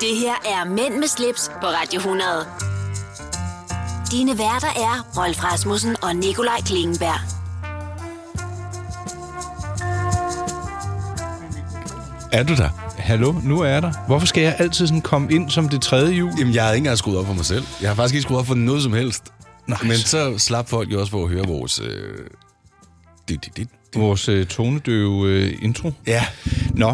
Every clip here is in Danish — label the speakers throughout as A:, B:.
A: Det her er Mænd med slips på Radio 100. Dine værter er Rolf Rasmussen og Nikolaj Klingenberg.
B: Er du der?
C: Hallo, nu er jeg der. Hvorfor skal jeg altid sådan komme ind som det tredje jul?
B: Jamen, jeg havde ikke engang skruet op for mig selv. Jeg har faktisk ikke skruet op for noget som helst.
C: Nej,
B: Men så slap folk jo også for at høre vores... Øh... Dit, dit, dit.
C: Vores øh, tonedøve øh, intro.
B: Ja.
C: Nå,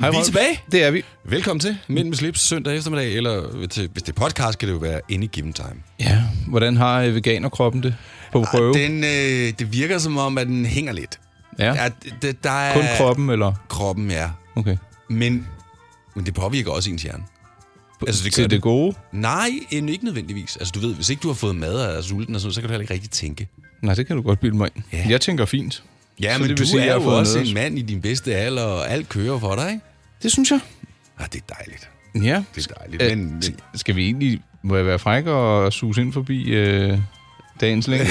C: Hej,
B: Vi er
C: Rolf.
B: tilbage.
C: Det er vi.
B: Velkommen til Mænd med slips søndag eftermiddag, eller til, hvis det er podcast, kan det jo være Any Given Time.
C: Ja, hvordan har øh, veganerkroppen det på prøve?
B: Den, øh, det virker som om, at den hænger lidt.
C: ja.
B: Ja, det, der er
C: Kun kroppen, eller?
B: Kroppen, ja.
C: Okay.
B: Men, men det påvirker også ens hjerne. Altså, det gør
C: Til det
B: det.
C: gode?
B: Nej, end ikke nødvendigvis. Altså, du ved, hvis ikke du har fået mad og er sulten og sådan noget, så kan du heller ikke rigtig tænke.
C: Nej, det kan du godt bilde mig ind.
B: Ja.
C: Jeg tænker fint.
B: Ja,
C: Så
B: men
C: det vil
B: du
C: sige,
B: er
C: jeg har
B: jo
C: fået
B: også
C: noget.
B: en mand i din bedste alder, og alt kører for dig, ikke?
C: Det synes jeg.
B: Ah, det er dejligt.
C: Ja.
B: Det er dejligt.
C: Øh,
B: Men, men
C: Skal vi egentlig, må jeg være fræk og suse ind forbi øh, dagens længde?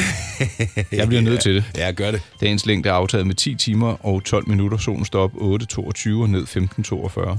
C: jeg bliver nødt til det.
B: ja, gør det.
C: Dagens længde er aftaget med 10 timer og 12 minutter. Solen står op 8.22 og ned 15.42.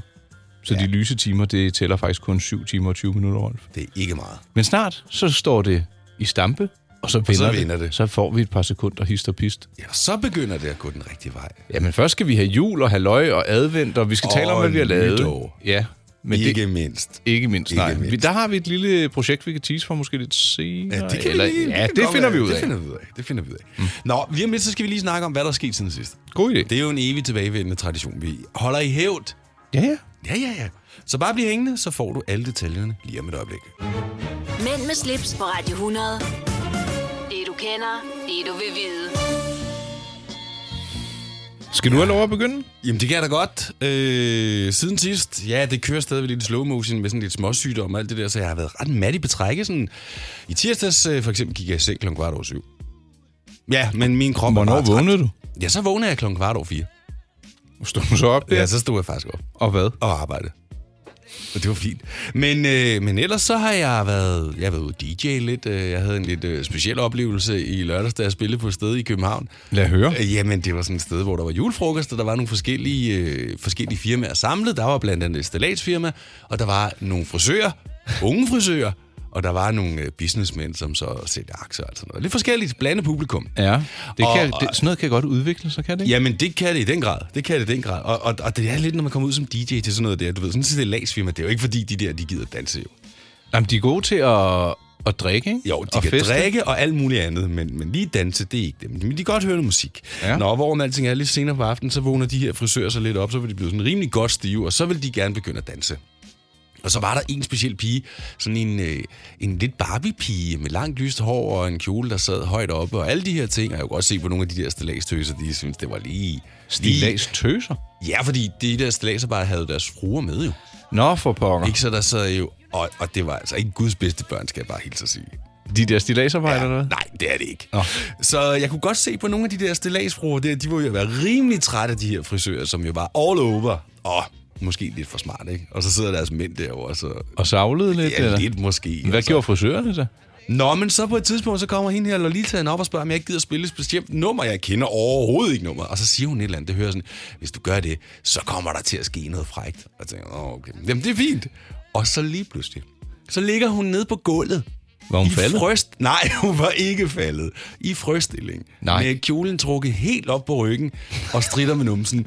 C: Så ja. de lyse timer, det tæller faktisk kun 7 timer og 20 minutter, Rolf.
B: Det er ikke meget.
C: Men snart, så står det i stampe, og så vinder,
B: så vinder det.
C: Så får vi et par sekunder hist og pist.
B: Ja, og så begynder det at gå den rigtige vej.
C: Jamen først skal vi have jul og halløj og advent, og vi skal tale om,
B: Og
C: hvad vi har lavet.
B: nytår.
C: Ja, men
B: ikke
C: det,
B: mindst.
C: ikke mindst, nej.
B: Ikke mindst.
C: Vi- Der har vi et lille projekt, vi kan tease for måske lidt senere.
B: Ja, det, kan
C: eller,
B: vi lige,
C: ja,
B: kan
C: det
B: godt
C: finder vi
B: være.
C: ud
B: Det
C: af.
B: finder vi ud af. Det finder vi ud af. Mm. Nå, lige om lidt, så skal vi lige snakke om, hvad der er sket siden sidst.
C: God idé.
B: Det er jo en evig tilbagevendende tradition. Vi holder i hævd.
C: Ja, ja.
B: Ja, ja, ja. Så bare bliv hængende, så får du alle detaljerne lige om et øjeblik.
A: Mænd med slips på Radio 100. Det du kender, det du vil vide.
C: Skal du have lov at begynde?
B: Jamen, det kan jeg da godt. Øh, siden sidst, ja, det kører stadigvæk lidt i slow motion med sådan lidt småsygdom og alt det der, så jeg har været ret mat i betrækket. Sådan. I tirsdags øh, for eksempel gik jeg i seng klokken kvart over syv. Ja, men min krop var
C: Hvornår
B: bare træt.
C: vågnede du?
B: Ja, så vågnede jeg klokken kvart over fire.
C: Stod du så op der?
B: Ja, så stod jeg faktisk op
C: Og hvad?
B: og arbejde. Og det var fint. Men, øh, men ellers så har jeg været, jeg har været ude at DJ lidt. Øh, Jeg havde en lidt øh, speciel oplevelse i lørdags, da jeg spillede på et sted i København.
C: Lad høre.
B: Øh, Jamen, det var sådan et sted, hvor der var julefrokost, og der var nogle forskellige, øh, forskellige firmaer samlet. Der var blandt andet et stillatsfirma, og der var nogle frisører, unge frisører, og der var nogle øh, businessmænd, som så sælger aktier og sådan noget. Lidt forskelligt blandet publikum.
C: Ja, det
B: Og-
C: kan,
B: og-
C: det, sådan noget kan godt udvikle sig, kan det ikke?
B: Jamen, det kan det i den grad. Det kan det i den grad. Og, og, og det er lidt, når man kommer ud som DJ til sådan noget der. Du ved, sådan et stillatsfirma, det er jo ikke fordi, de der, de gider danse jo.
C: Jamen, de er gode til at, at drikke, ikke?
B: Jo, de
C: og
B: kan drikke og alt muligt andet, men, men lige danse, det er ikke dem. Men de kan godt høre noget musik. Ja.
C: Ja.
B: Nå, hvorom alting er lidt senere på aftenen, så vågner de her frisører sig lidt op, så vil de blive sådan rimelig godt stive, og så vil de gerne begynde at danse. Og så var der en speciel pige, sådan en, øh, en lidt Barbie-pige med langt lyst hår og en kjole, der sad højt oppe, og alle de her ting. Og jeg kunne også se på nogle af de der stilagstøser, de synes det var lige... lige-
C: Stilas tøser.
B: Ja, fordi de der stilladser bare havde deres fruer med jo.
C: Nå, for pokker.
B: Ikke så der sad jo... Og, og det var altså ikke Guds bedste børn, skal jeg bare hilse at sige.
C: De der stilasarbejder, eller hvad?
B: Nej, det er det ikke.
C: Nå.
B: Så jeg kunne godt se på nogle af de der stillagsfruer der, de var jo være rimelig trætte af de her frisører, som jo var all over. Og måske lidt for smart, ikke? Og så sidder deres mænd derovre, så...
C: Og savlede lidt,
B: Ja, altså-
C: eller?
B: lidt måske.
C: Hvad gjorde frisørerne så?
B: Nå, men så på et tidspunkt, så kommer hende her Lolitaen op og spørger, om jeg ikke gider spille et specielt nummer, jeg kender overhovedet ikke nummer. Og så siger hun et eller andet, det hører sådan, hvis du gør det, så kommer der til at ske noget frægt. Og jeg tænker, åh, okay, jamen det er fint. Og så lige pludselig, så ligger hun nede på gulvet.
C: Var hun
B: I
C: faldet?
B: Frøst, nej, hun var ikke faldet. I frøstilling.
C: Nej.
B: Med kjolen trukket helt op på ryggen og strider med numsen.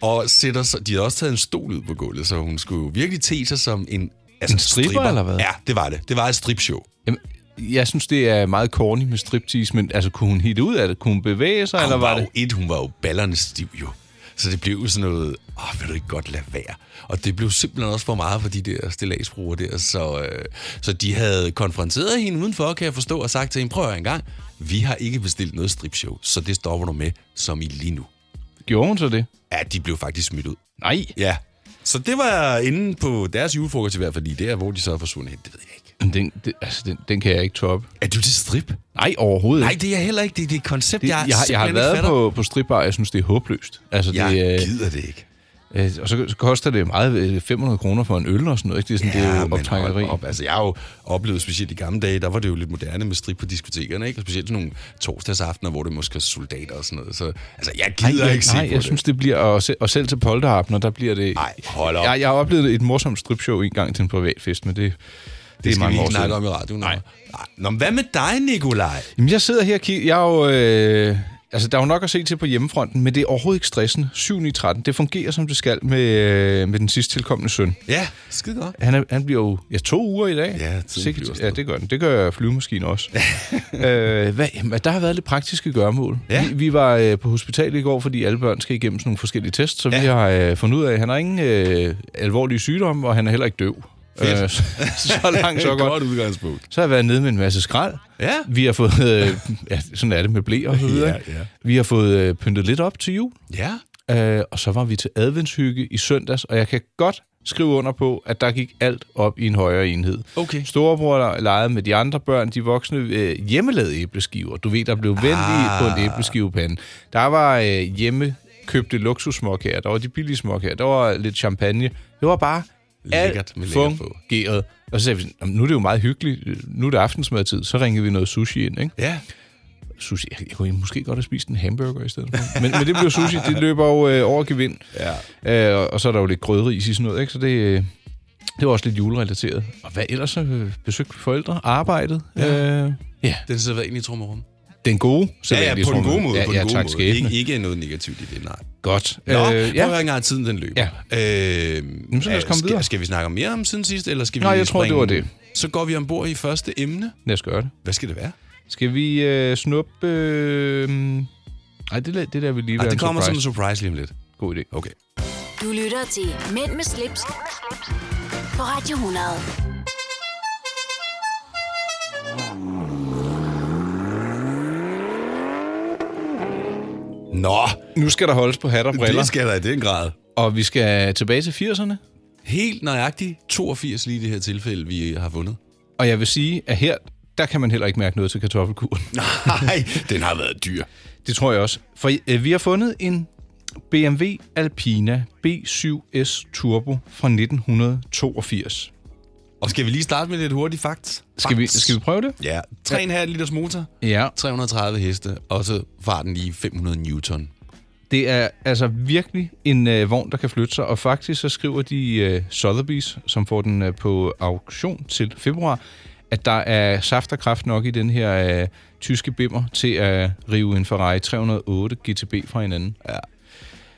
B: Og sætter så, de havde også taget en stol ud på gulvet, så hun skulle jo virkelig te sig som en... Altså,
C: En stripper, eller hvad?
B: Ja, det var det. Det var et stripshow.
C: Jamen, jeg synes, det er meget corny med striptease, men altså, kunne hun hitte ud af det? Kunne hun bevæge sig, eller
B: hun
C: var
B: var
C: det?
B: jo et, hun var jo ballerne stiv jo. Så det blev jo sådan noget, åh, vil du ikke godt lade være? Og det blev simpelthen også for meget for de der stillagsbrugere der, så, øh, så de havde konfronteret hende udenfor, kan jeg forstå, og sagt til hende, prøv at høre en gang, vi har ikke bestilt noget stripshow, så det stopper du med, som i lige nu.
C: Gjorde hun så det?
B: Ja, de blev faktisk smidt ud.
C: Nej.
B: Ja. Så det var inde på deres julefrokost i hvert fald lige der, hvor de så er forsvundet hen, det ved jeg ikke.
C: Men Den, den, altså, den, den kan jeg ikke toppe.
B: Er du til strip?
C: Nej, overhovedet
B: Nej,
C: ikke.
B: det er jeg heller ikke. Det er det koncept,
C: Det,
B: jeg,
C: jeg, jeg, har- jeg har
B: simpelthen ikke
C: været
B: fatter.
C: på, på stripbar, og jeg synes, det er håbløst. Altså,
B: Jeg
C: det, øh,
B: gider det ikke.
C: Øh, og så, så koster det meget øh, 500 kroner for en øl og sådan noget. Ikke? Det er, sådan, ja, det er jo
B: men
C: optrækkeri.
B: hold op. Altså, jeg har jo oplevet, specielt i gamle dage, der var det jo lidt moderne med strip på diskotekerne, ikke? Og specielt sådan nogle torsdagsaftener, hvor det måske er soldater og sådan noget. Så, altså, jeg gider
C: nej,
B: ikke se
C: nej,
B: på
C: jeg
B: det.
C: synes, det bliver... Og, se, og selv til polterabner, der bliver det...
B: Ej, hold op.
C: Jeg, jeg har oplevet et morsomt stripshow en gang til en privat fest, men det, det,
B: det
C: er
B: skal vi
C: mange
B: ikke
C: år siden.
B: snakke om i radioen. Nej. Nej. Nå, men hvad med dig, Nikolaj?
C: Jamen, jeg sidder her og kigger. Jeg er jo, øh, altså, der er jo nok at se til på hjemmefronten, men det er overhovedet ikke stressende. 7 i 13. Det fungerer, som det skal med, øh, med den sidst tilkommende søn.
B: Ja, skide godt.
C: Han, er, han bliver jo ja, to uger i dag.
B: Ja, tiden
C: Sikkert-
B: flyver afsted.
C: ja, det gør den. Det gør flyvemaskinen også. øh, hvad, jamen, der har været lidt praktiske gøremål.
B: Ja.
C: Vi, vi var øh, på hospitalet i går, fordi alle børn skal igennem sådan nogle forskellige tests, så ja.
B: Ja.
C: vi har øh, fundet ud af, at han har ingen øh, alvorlige sygdomme, og han er heller ikke døv. Øh,
B: Fedt.
C: så, så langt, så godt.
B: godt udgangspunkt.
C: Så har jeg været nede med en masse skrald.
B: Ja.
C: Vi har fået, øh, ja, sådan er det med blæ og så videre.
B: Ja, ja.
C: Vi har fået øh, pyntet lidt op til jul,
B: Ja.
C: øh, og så var vi til adventshygge i søndags, og jeg kan godt skrive under på, at der gik alt op i en højere enhed.
B: Okay.
C: Storebror legede med de andre børn, de voksne, øh, hjemmelavede æbleskiver. Du ved, der blev vendt ah. på en æbleskivepande. Der var øh, hjemme købte luksussmåkager, der var de billige småkager, der var lidt champagne. Det var bare
B: Lækkert med
C: alt
B: lækkert på.
C: fungeret. Og så sagde vi, sådan, "Nå, men nu er det jo meget hyggeligt, nu er det aftensmadtid, så ringede vi noget sushi ind, ikke?
B: Ja.
C: sushi. Jeg, jeg kunne måske godt have spist en hamburger i stedet for. Men, men det blev sushi. Det løber jo øh, over gevind. Ja. Øh, og, og så er der jo lidt grødris i sådan noget, ikke? Så det, øh, det var også lidt julerelateret. Og hvad ellers? Øh, besøgte forældre, arbejdet. Ja. Øh, ja.
B: Den sidder ind i trummerum.
C: Den gode.
B: Ja, ja,
C: sædvanlige
B: på en
C: tromme.
B: god måde.
C: Ja,
B: på en
C: ja
B: god
C: tak
B: måde.
C: skæbne.
B: Ikke, ikke noget negativt i det, nej.
C: Godt.
B: Nå, øh, prøv
C: ja.
B: at høre engang, tiden den løber.
C: Ja.
B: Øh,
C: Jamen, så lad os komme
B: skal,
C: videre.
B: skal vi snakke om mere om siden sidst, eller skal
C: Nå,
B: vi
C: jeg tror, det
B: springe-
C: var det.
B: Så går vi ombord i første emne.
C: Lad os gøre det.
B: Hvad skal det være?
C: Skal vi øh, snuppe... Øh, nej, det, lad- det der vil lige
B: Ej,
C: være
B: Ah, det
C: en
B: kommer
C: surprise.
B: som en surprise lige om lidt.
C: God idé.
B: Okay.
A: Du lytter til Mænd med slips, på Radio 100.
B: Nå,
C: Nu skal der holdes på hat og briller,
B: det skal der i den grad.
C: og vi skal tilbage til 80'erne.
B: Helt nøjagtigt 82 lige i det her tilfælde, vi har vundet.
C: Og jeg vil sige, at her, der kan man heller ikke mærke noget til kartoffelkuren.
B: Nej, den har været dyr.
C: Det tror jeg også. For øh, vi har fundet en BMW Alpina B7S Turbo fra 1982.
B: Og skal vi lige starte med lidt hurtigt fakt?
C: Skal vi,
B: Facts.
C: skal vi prøve det?
B: Ja, 3,5 liters motor,
C: Ja.
B: 330 heste, og så var den lige 500 newton.
C: Det er altså virkelig en øh, vogn, der kan flytte sig, og faktisk så skriver de øh, Sotheby's, som får den øh, på auktion til februar, at der er saft og kraft nok i den her øh, tyske bimmer til at rive en Ferrari 308 GTB fra hinanden.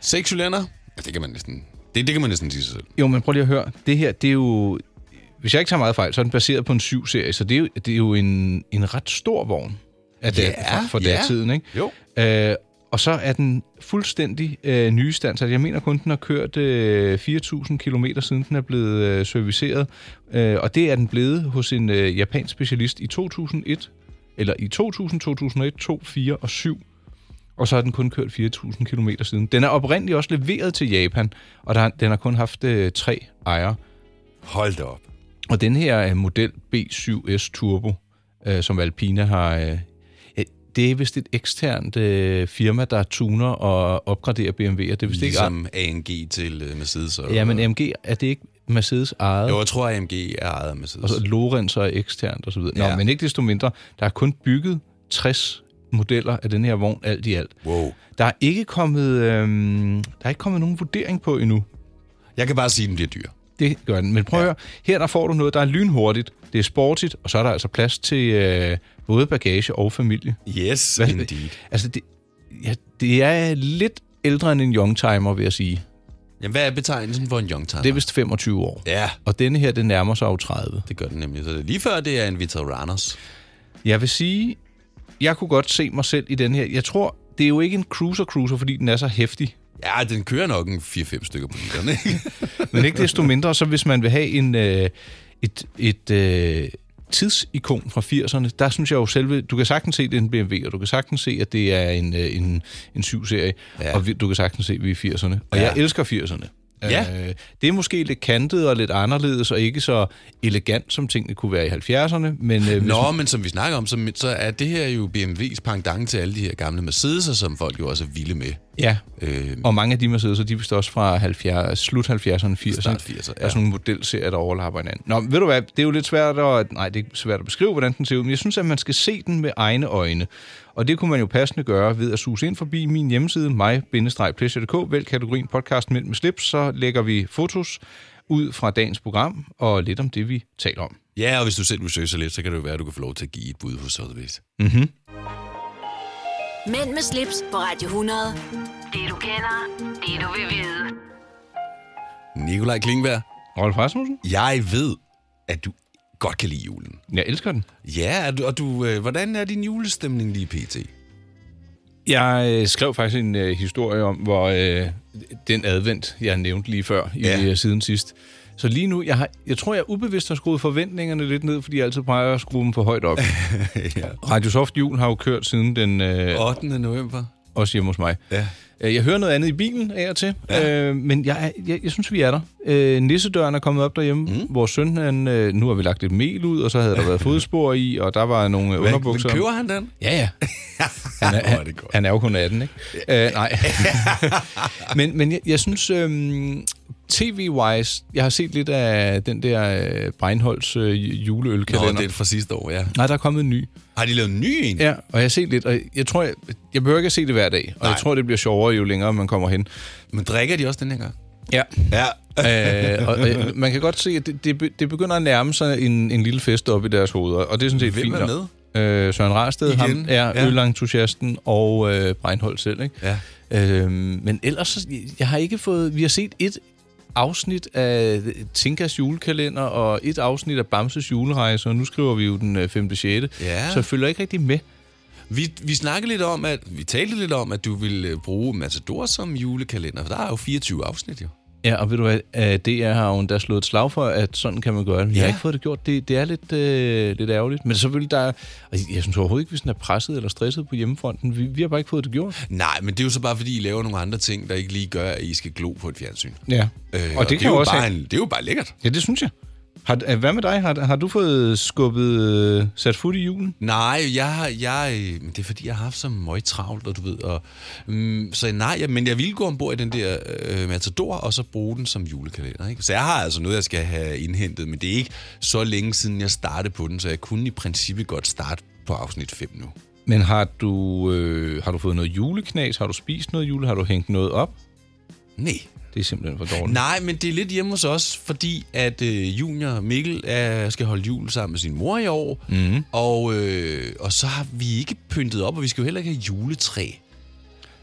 B: 6 cylinder, ja, det kan man næsten, det, det kan man næsten sige sig selv.
C: Jo, men prøv lige at høre. Det her, det er jo... Hvis jeg ikke tager meget fejl, så er den baseret på en 7-serie, så det er jo, det er jo en, en ret stor vogn af der,
B: Ja,
C: for, for
B: ja.
C: datiden, ikke?
B: Jo.
C: Øh, og så er den fuldstændig øh, nystandsat. Jeg mener kun, den har kørt øh, 4.000 km, siden den er blevet øh, serviceret. Øh, og det er den blevet hos en øh, japansk specialist i 2001, eller i 2000, 2001, 2, 4 og 7. Og så har den kun kørt 4.000 km siden. Den er oprindeligt også leveret til Japan, og der, den har kun haft øh, tre ejere.
B: Hold da op.
C: Og den her øh, model B7S Turbo, øh, som Alpina har, øh, ja, det er vist et eksternt øh, firma, der tuner og opgraderer BMW'er. Det er vist ligesom.
B: Ligesom AMG til øh, Mercedes. Og,
C: ikke... Ja, men MG, er det ikke Mercedes eget?
B: Jo, jeg tror, AMG er ejet af Mercedes.
C: Og så Lorenz er eksternt osv. Nå,
B: Ja.
C: men ikke desto mindre, der er kun bygget 60 modeller af den her vogn, alt i alt.
B: Wow.
C: Der er ikke kommet, øhm, der er ikke kommet nogen vurdering på endnu.
B: Jeg kan bare sige, at den bliver dyr.
C: Det gør den. Men prøv ja. at høre, her der får du noget, der er lynhurtigt, det er sportigt, og så er der altså plads til øh, både bagage og familie.
B: Yes,
C: Hvad-
B: indeed.
C: Altså, det, ja, det er lidt ældre end en youngtimer, vil jeg sige.
B: Jamen, hvad er betegnelsen for en youngtimer?
C: Det er vist 25 år.
B: Ja,
C: Og denne her, den nærmer sig jo 30.
B: det gør den nemlig. Så det er lige før, det er en veteraners.
C: Jeg vil sige, jeg kunne godt se mig selv i den her. Jeg tror, det er jo ikke en cruiser-cruiser, fordi den er så hæftig.
B: Ja, den kører nok en 4-5 stykker på literen, ikke?
C: Men ikke desto mindre, så hvis man vil have en, øh, et, et øh, tidsikon fra 80'erne, der synes jeg jo selve, du kan sagtens se, det er en BMW, og du kan sagtens se, at det er en, øh, en, en 7-serie,
B: Ja.
C: ja. og vi, du kan sagtens se, at vi er 80'erne. Og
B: Ja.
C: ja. jeg elsker 80'erne.
B: Ja.
C: Øh, det er måske lidt kantet og lidt anderledes, og ikke så elegant, som tingene kunne være i 70'erne, men øh, hvis
B: Nå, men som vi snakker om, så, så er det her jo BMW's pendant til alle de her gamle Mercedes'er, som folk jo også er vilde med.
C: Ja,
B: Øh,
C: og mange af de Mercedes'er, de er vist også fra 70, slut 70'erne, 80'erne.
B: Start 80'erne,
C: Der er sådan nogle modelserier, der overlapper hinanden. Nå, men ved du hvad, det er jo lidt svært at, nej, det er svært at beskrive, hvordan den ser ud, men jeg synes, at man skal se den med egne øjne. Og det kunne man jo passende gøre ved at suge ind forbi min hjemmeside, mig-pleasure.dk, vælg kategorien podcast Mænd med slips, så lægger vi fotos ud fra dagens program, og lidt om det, vi taler om.
B: ja, og hvis du selv vil søge sig lidt, så kan det jo være, at du kan få lov til at give et bud hos Sotheby's.
A: Mænd med slips på Radio 100. Det du kender, det du vil vide.
B: Nikolaj Klingberg,
C: Rolf Rasmussen?
B: jeg ved, at du godt kan lide julen.
C: Jeg elsker den.
B: Ja, og du- og du, øh, hvordan er din julestemning lige pt?
C: Jeg øh, skrev faktisk en øh, historie om, hvor øh, den advent, jeg nævnte lige før, i,
B: Ja.
C: ja. siden sidst. Så lige nu, jeg, har, jeg tror, jeg ubevidst har skruet forventningerne lidt ned, fordi jeg altid plejer at skrue dem for højt op.
B: ja.
C: Radio Soft Jul har jo kørt siden den, øh,
B: 8. november.
C: også hjemme hos mig.
B: Ja.
C: Øh, Jeg hører noget andet i bilen af og til, ja. øh, men jeg, er- jeg, jeg synes, vi er der. Øh, nissedøren er kommet op derhjemme. Mm. Vores søn, han, øh, nu har vi lagt lidt mel ud, og så havde der været fodspor i, og der var nogle øh, underbukser.
B: Men køber han den?
C: Ja, ja. Han er,
B: Hvor er det godt.
C: han er jo kun 18, ikke? Øh, nej. men, men jeg, jeg synes, øhm, tv-wise, jeg har set lidt af den der øh, Breinholds øh,
B: Nå,
C: juleølkalender.
B: det er fra sidste år, ja.
C: Nej, der er kommet en ny.
B: Har de lavet en ny en?
C: Ja, og jeg har set lidt, og jeg tror, jeg, jeg behøver ikke at se det hver dag, og Nej. jeg
B: Nej.
C: tror, det bliver sjovere, jo længere man kommer hen.
B: Men drikker de også den her gang?
C: Ja.
B: Ja.
C: øh, og, øh, man kan godt se, at det, det, be- det begynder at nærme sig en, en lille fest op i deres hoveder, og det er sådan set
B: Hvem
C: fint
B: er
C: nok.
B: med?
C: Øh, Søren Rarsted, ham
B: Igen?
C: er
B: Ja.
C: ja. ølentusiasten, og øh, Breinholt selv, ikke?
B: Ja.
C: Øhm, men ellers, så- jeg har ikke fået... Vi har set et afsnit af Tinkas julekalender og et afsnit af Bamses julerejse, og nu skriver vi jo den øh, 5. 6.
B: Ja.
C: Så jeg følger ikke rigtig med.
B: Vi, vi snakkede lidt om, at vi talte lidt om, at du ville øh, bruge Matador som julekalender, for der er jo 24 afsnit jo.
C: Ja, og ved du hvad, øh, DR har jo endda slået et slag for, at sådan kan man gøre det. Jeg
B: Ja.
C: har ikke fået det gjort. Det, det er lidt, øh, lidt ærgerligt. Men selvfølgelig, der er, og jeg synes overhovedet ikke, vi sådan er presset eller stresset på hjemmefronten. Vi, vi har bare ikke fået det gjort.
B: Nej, men det er jo så bare, fordi I laver nogle andre ting, der ikke lige gør, at I skal glo på et fjernsyn.
C: Ja.
B: Øh,
C: og det
B: er
C: kan jo også
B: bare
C: have-
B: en, Det er jo bare lækkert.
C: Ja, det synes jeg. Har, øh, hvad med dig? Har, har du fået skubbet, øh, sat fod i julen?
B: Nej, jeg, har- jeg, øh, men det er fordi, jeg har haft så meget travlt, og du ved. Og, mm, så nej, jeg, men jeg ville gå ombord i den der øh, Matador, og så bruge den som julekalender. Ikke? Så jeg har altså noget, jeg skal have indhentet, men det er ikke så længe siden, jeg startede på den, så jeg kunne i princippet godt starte på afsnit 5 nu.
C: Men har du, øh, har du fået noget juleknas? Har du spist noget jule? Har du hængt noget op?
B: Nej.
C: Det er simpelthen for dårligt.
B: Nej, men det er lidt hjemme hos os, fordi at øh, Junior Mikkel øh, skal holde jul sammen med sin mor i år,
C: Mhm.
B: mm. og, øh, og så har vi ikke pyntet op, og vi skal jo heller ikke have juletræ.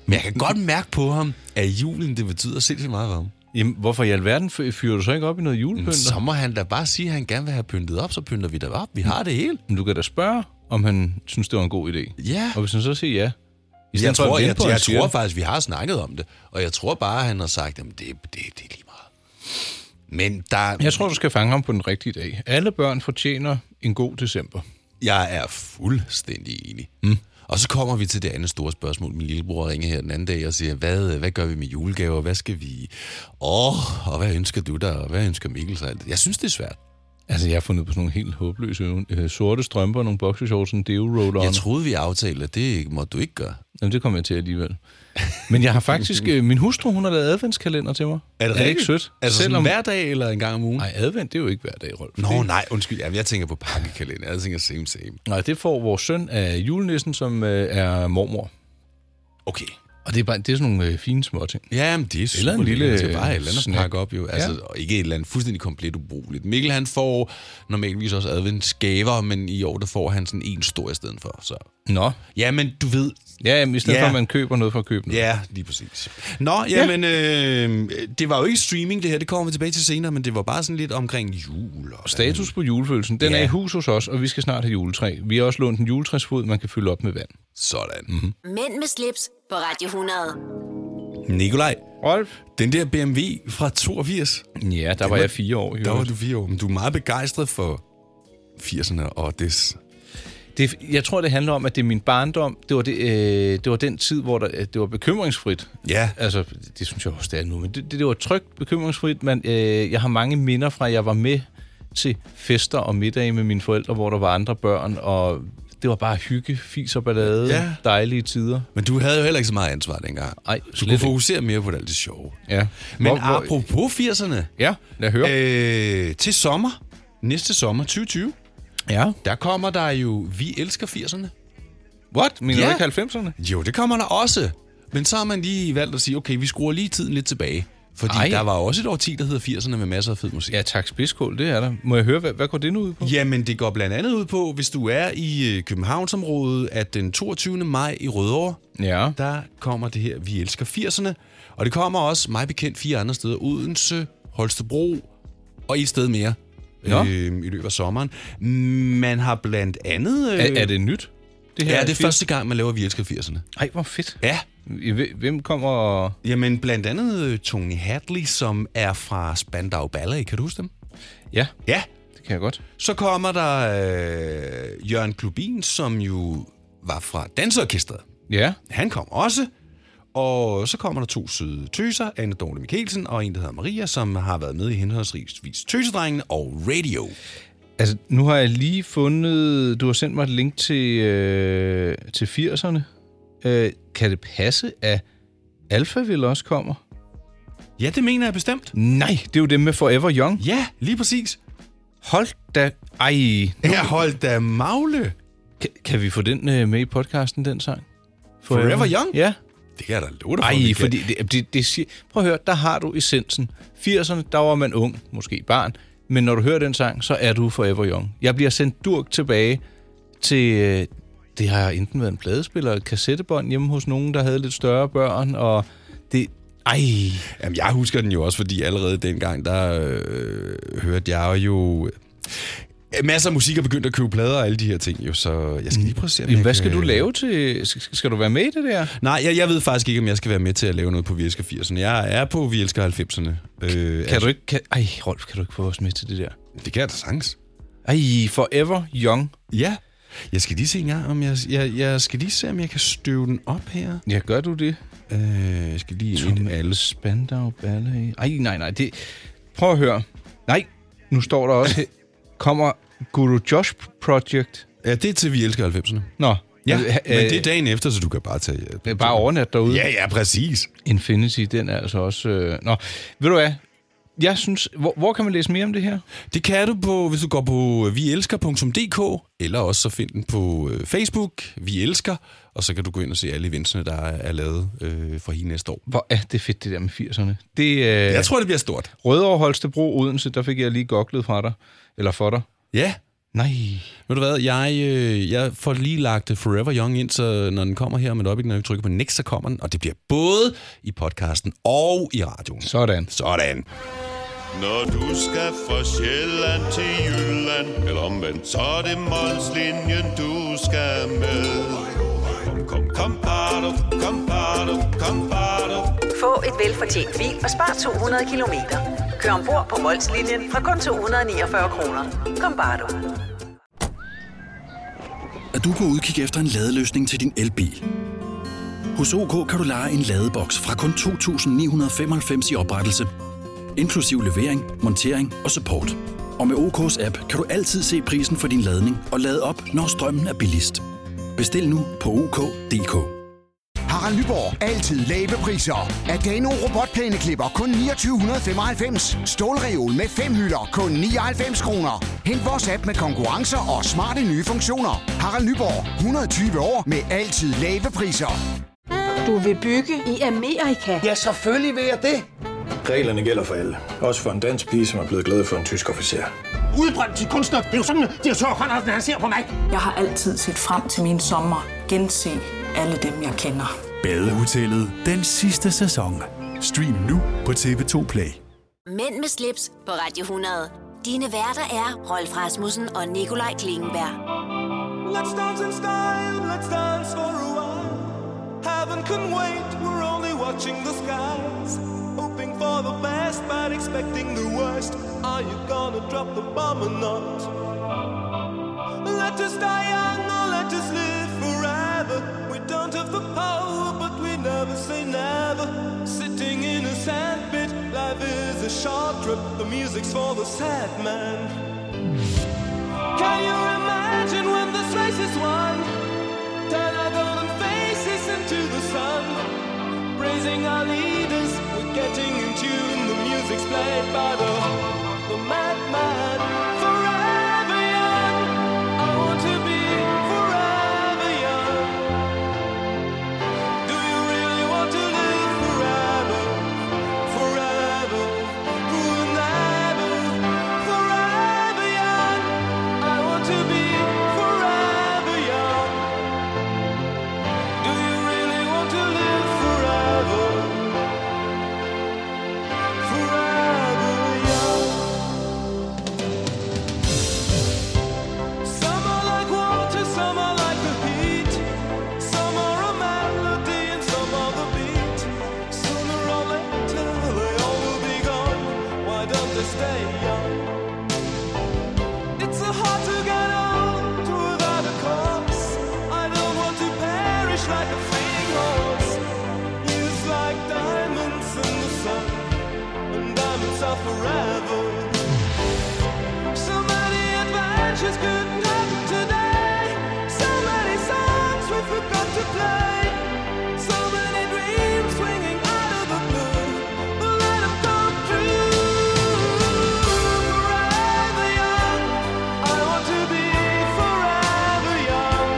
B: Men jeg kan godt mærke på ham, at julen, det betyder sindssygt meget for ham.
C: Jamen, hvorfor i alverden fy- fyrer du så ikke op i noget
B: Men
C: julepynt?
B: så må han da bare sige, at han gerne vil have pyntet op, så pynter vi da op. Vi har det hele.
C: Men Du kan da spørge, om han synes, det var en god idé.
B: Ja.
C: Og hvis han så siger ja... I
B: Jeg
C: stedet for at
B: tror,
C: vente
B: jeg,
C: på, at
B: jeg,
C: han
B: jeg
C: siger
B: tror
C: det.
B: faktisk, vi har snakket om det, og jeg tror bare, at han har sagt, at det, det, det er lige meget. Men der,
C: Jeg tror, du skal fange ham på den rigtige dag. Alle børn fortjener en god december.
B: Jeg er fuldstændig enig. Mm. Og så kommer vi til det andet store spørgsmål. Min lillebror ringer her den anden dag og siger, hvad, hvad gør vi med julegaver? Hvad skal vi... Åh, og hvad ønsker du dig? Og hvad ønsker Mikkel sig? Jeg synes, det er svært.
C: Altså, jeg har fundet på sådan nogle helt håbløse øh, sorte strømper, nogle boxershorts, en deo roll
B: Jeg troede, vi aftalte, at det må du ikke gøre.
C: Jamen, det kommer jeg til alligevel. Men jeg har faktisk... øh, min hustru, hun har lavet adventskalender til mig. er det ikke sødt?
B: Altså Selvom... hver dag eller en gang om ugen?
C: Nej, advent, det er jo ikke hver dag, Rolf.
B: Nå, nej, undskyld. Jamen, jeg tænker på pakkekalender. Jeg tænker same, same.
C: Nej, det får vores søn af julenissen, som øh, er mormor.
B: Okay.
C: Og det er, bare, det er sådan nogle øh, fine små ting.
B: Jamen, det er super
C: Eller en lille
B: lækkert. Det er bare et eller andet
C: snack.
B: pakke op, jo. Altså, ja. ikke et eller andet fuldstændig komplet ubrugeligt. Mikkel, han får normalvis også adventsgaver, men i år, der får han sådan en stor i stedet for. Så.
C: Nå.
B: Ja, men du ved...
C: Ja, jamen, i stedet
B: Ja.
C: ja. for, at man køber noget for at købe noget.
B: Ja, lige præcis. Nå, jamen, ja. øh, det var jo ikke streaming, det her. Det kommer vi tilbage til senere, men det var bare sådan lidt omkring jul. Og
C: Status på julefølelsen, den
B: Ja.
C: ja. er i hus hos os, og vi skal snart have juletræ. Vi har også lånt en juletræsfod, man kan fylde op med vand.
B: Sådan. Mm-hmm.
A: Mænd med slips på Radio 100.
B: Nikolaj,
C: Rolf?
B: den der BMW fra 82,
C: Ja, der var, jeg fire år.
B: der var du fire år. Men du er meget begejstret for 80'erne og des.
C: Det, jeg tror, det handler om, at det er min barndom. Det var, det, øh, det var den tid, hvor der, det var bekymringsfrit.
B: Ja.
C: Altså, det synes jeg også, det er nu. Men det, det, det var trygt bekymringsfrit, men øh, jeg har mange minder fra, at jeg var med til fester og middage med mine forældre, hvor der var andre børn, og Det var bare hygge, fis og ballade,
B: Ja.
C: ja. dejlige tider.
B: Men du havde jo heller ikke så meget ansvar dengang.
C: Nej,
B: du
C: slet
B: kunne
C: ikke.
B: fokusere mere på det alt det sjove.
C: Ja.
B: Men
C: Hvor- hvor-
B: apropos 80'erne,
C: Ja, lad høre.
B: øh, til sommer, næste sommer 2020,
C: ja.
B: der kommer der jo Vi elsker 80'erne.
C: What? Mener
B: Ja.
C: du ikke 90'erne?
B: Jo, det kommer der også. Men så har man lige valgt at sige, okay, vi skruer lige tiden lidt tilbage. Fordi Ej.
C: Ej.
B: der var også et årti, der hedder 80'erne med masser af fed musik.
C: Ja, tak spidskål, det er der. Må jeg høre, hvad, hvad går det nu ud på?
B: Jamen, det går blandt andet ud på, hvis du er i øh, Københavnsområdet, at den 22. maj i Rødovre,
C: Ja.
B: der kommer det her Vi elsker 80'erne. Og det kommer også, mig bekendt, fire andre steder. Odense, Holstebro og et sted mere
C: Nå.
B: øh, i løbet af sommeren. Man har blandt andet... Øh,
C: Er, er det nyt? Det
B: Ja, det er
C: firs-
B: første gang, man laver Vi elsker 80'erne.
C: Ej, hvor fedt.
B: Ja,
C: I- hve- Hvem kommer... og-
B: jamen blandt andet øh, Tony Hadley, som er fra Spandau Ballet. Kan du huske dem?
C: Ja,
B: Ja,
C: det kan jeg godt.
B: Så kommer der øh, Jørgen Klubin, som jo var fra Danseorkestret.
C: Ja.
B: Han kom også. Og så kommer der to søde tøser, Anne Dorte Mikkelsen og en, der hedder Maria, som har været med i henholdsvis Tøsedrengene og Radio.
C: Altså, nu har jeg lige fundet... Du har sendt mig et link til, øh, til 80'erne. Øh, kan det passe, at Alpha vil også kommer?
B: Ja, det mener jeg bestemt.
C: Nej, det er jo dem med Forever Young.
B: Ja, lige præcis.
C: Hold da... Ej,
B: Jeg holdt da magle.
C: kan, kan vi få den øh, med i podcasten, den sang?
B: Forever Young?
C: Ja.
B: Det kan jeg da love dig for,
C: Ej,
B: vi kan.
C: fordi det, det, det siger, prøv at høre, der har du essensen. 80'erne, der var man ung, måske barn, men når du hører den sang, så er du forever young. Jeg bliver sendt durk tilbage til, øh, det har enten været en pladespiller, et kassettebånd hjemme hos nogen, der havde lidt større børn, og det, ej,
B: Jamen, jeg husker den jo også, fordi allerede dengang, der øh, hørte jeg jo... øh, Masser af musik og begyndt at købe plader og alle de her ting, jo, så jeg skal lige prøve at se, om jeg
C: Jamen, hvad skal
B: kan-
C: du lave til, skal, skal du være med i det der?
B: Nej, jeg, jeg ved faktisk ikke, om jeg skal være med til at lave noget på Vi elsker 80'erne. Jeg er på Vi elsker 90'erne. Øh,
C: Kan du ikke, kan, ej, Rolf, kan du ikke få os med til det der?
B: Det kan jeg da sagtens.
C: Ej, forever young.
B: Ja. Jeg skal lige se en gang, om jeg, jeg, jeg skal lige se, om jeg kan støve den op her.
C: Ja, gør du det?
B: Øh, jeg skal lige ind
C: Tom
B: i alle.
C: alle Spandau Ballet. Ej, nej, nej. Det... Prøv at høre. Nej, nu står der også... Kommer Guru Josh Project.
B: Ja, det er til Vi elsker 90'erne.
C: Nå.
B: Ja,
C: øh,
B: men det er
C: øh,
B: dagen efter, så du kan bare tage... Ja,
C: øh, Bare overnat derude.
B: Ja, ja, præcis.
C: Infinity, den er altså også... Øh... Nå, ved du hvad? Jeg synes... Hvor, hvor kan man læse mere om det her?
B: Det kan du på, hvis du går på øh, vielsker.dk, eller også så find den på øh, Facebook, Vi Elsker, og så kan du gå ind og se alle eventsene, der er, er lavet øh, for hele næste år.
C: Hvor er det fedt, det der med 80'erne. Det øh...
B: Jeg tror, det bliver stort.
C: Rødovre, Holstebro, Odense, der fik jeg lige goklet fra dig. Eller for dig.
B: Ja,
C: Nej.
B: Ved du hvad, jeg, øh, jeg får lige lagt øh, Forever Young ind, så når den kommer her om et øjeblik, når vi trykker på next, så kommer den, og det bliver både i podcasten og i radioen.
C: Sådan.
B: Sådan.
D: Når du skal fra Sjælland til Jylland Eller omvendt, så er det Molslinjen, du skal med Kom, kom, kom, bado, kom, bado, kom, bado.
E: Få et velfortjent bil og spar 200 kilometer. Kør ombord på Molslinjen fra kun 249 kroner. Kom bare du.
F: at du kan udkigge efter en ladeløsning til din elbil. Hos OK kan du lege en ladeboks fra kun 2.995 i oprettelse, inklusiv levering, montering og support. Og med OK's app kan du altid se prisen for din ladning og lade op, når strømmen er billigst. Bestil nu på OK.dk.
G: Harald Nyborg. Altid lave priser. Adano robotplæneklipper kun 2995. Stålreol med fem hylder kun 99 kroner. Hent vores app med konkurrencer og smarte nye funktioner. Harald Nyborg. 120 år med altid lave priser.
H: Du vil bygge i Amerika?
I: Ja, selvfølgelig vil jeg det.
J: Reglerne gælder for alle. Også for en dansk pige, som er blevet glad for en tysk officer.
I: Udbrændt til kunstner. Det er jo sådan, at de har tørt, han ser på mig.
H: Jeg har altid set frem til min sommer. Gense alle dem, jeg kender.
K: Badehotellet den sidste sæson. Stream nu på TV2 Play.
A: Mænd med slips på Radio 100. Dine værter er Rolf Rasmussen og Nikolaj Klingenberg.
D: Let's dance in style, let's dance for a while. Heaven can wait, we're only watching the skies. Hoping for the best, but expecting the worst. Are you gonna drop the bomb or not? Let us die young or let us live forever. We don't have the power, but we never say never. Sitting in a sandpit, life is a short trip. The music's for the sad man. Can you imagine when this race is won? praising our leaders. We're getting in tune. The music's played by the the madman. Forever young. I want to be forever young. Do you really want to live forever? Forever. Forever. Forever young. I want to be forever young. Do you really want to live forever? Forever young. Some are like water, some are like the heat. Some are a melody and some are the beat. Sooner or later they all will be gone. Why don't they stay young? It's so hard to get old without a cause. I don't want to perish like a fleeing horse. Years like diamonds in the sun, and diamonds are forever. So many adventures couldn't happen today. So many songs we forgot to play. So many dreams swinging out of the blue. But let 'em come true. Forever young. I want to be forever young.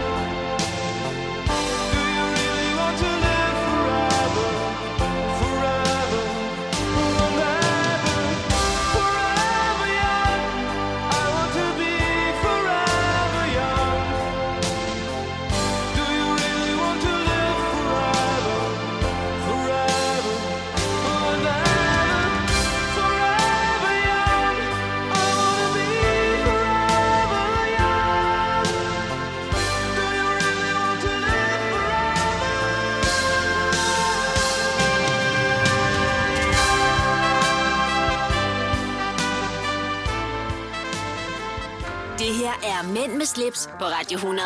D: Do you really want to live forever? Forever, forever, forever young. I want to be forever young. Do you really want to live forever? Forever, forever, forever young. I wanna be forever young. Do you really want to live
A: Det her er Mænd med slips på Radio 100.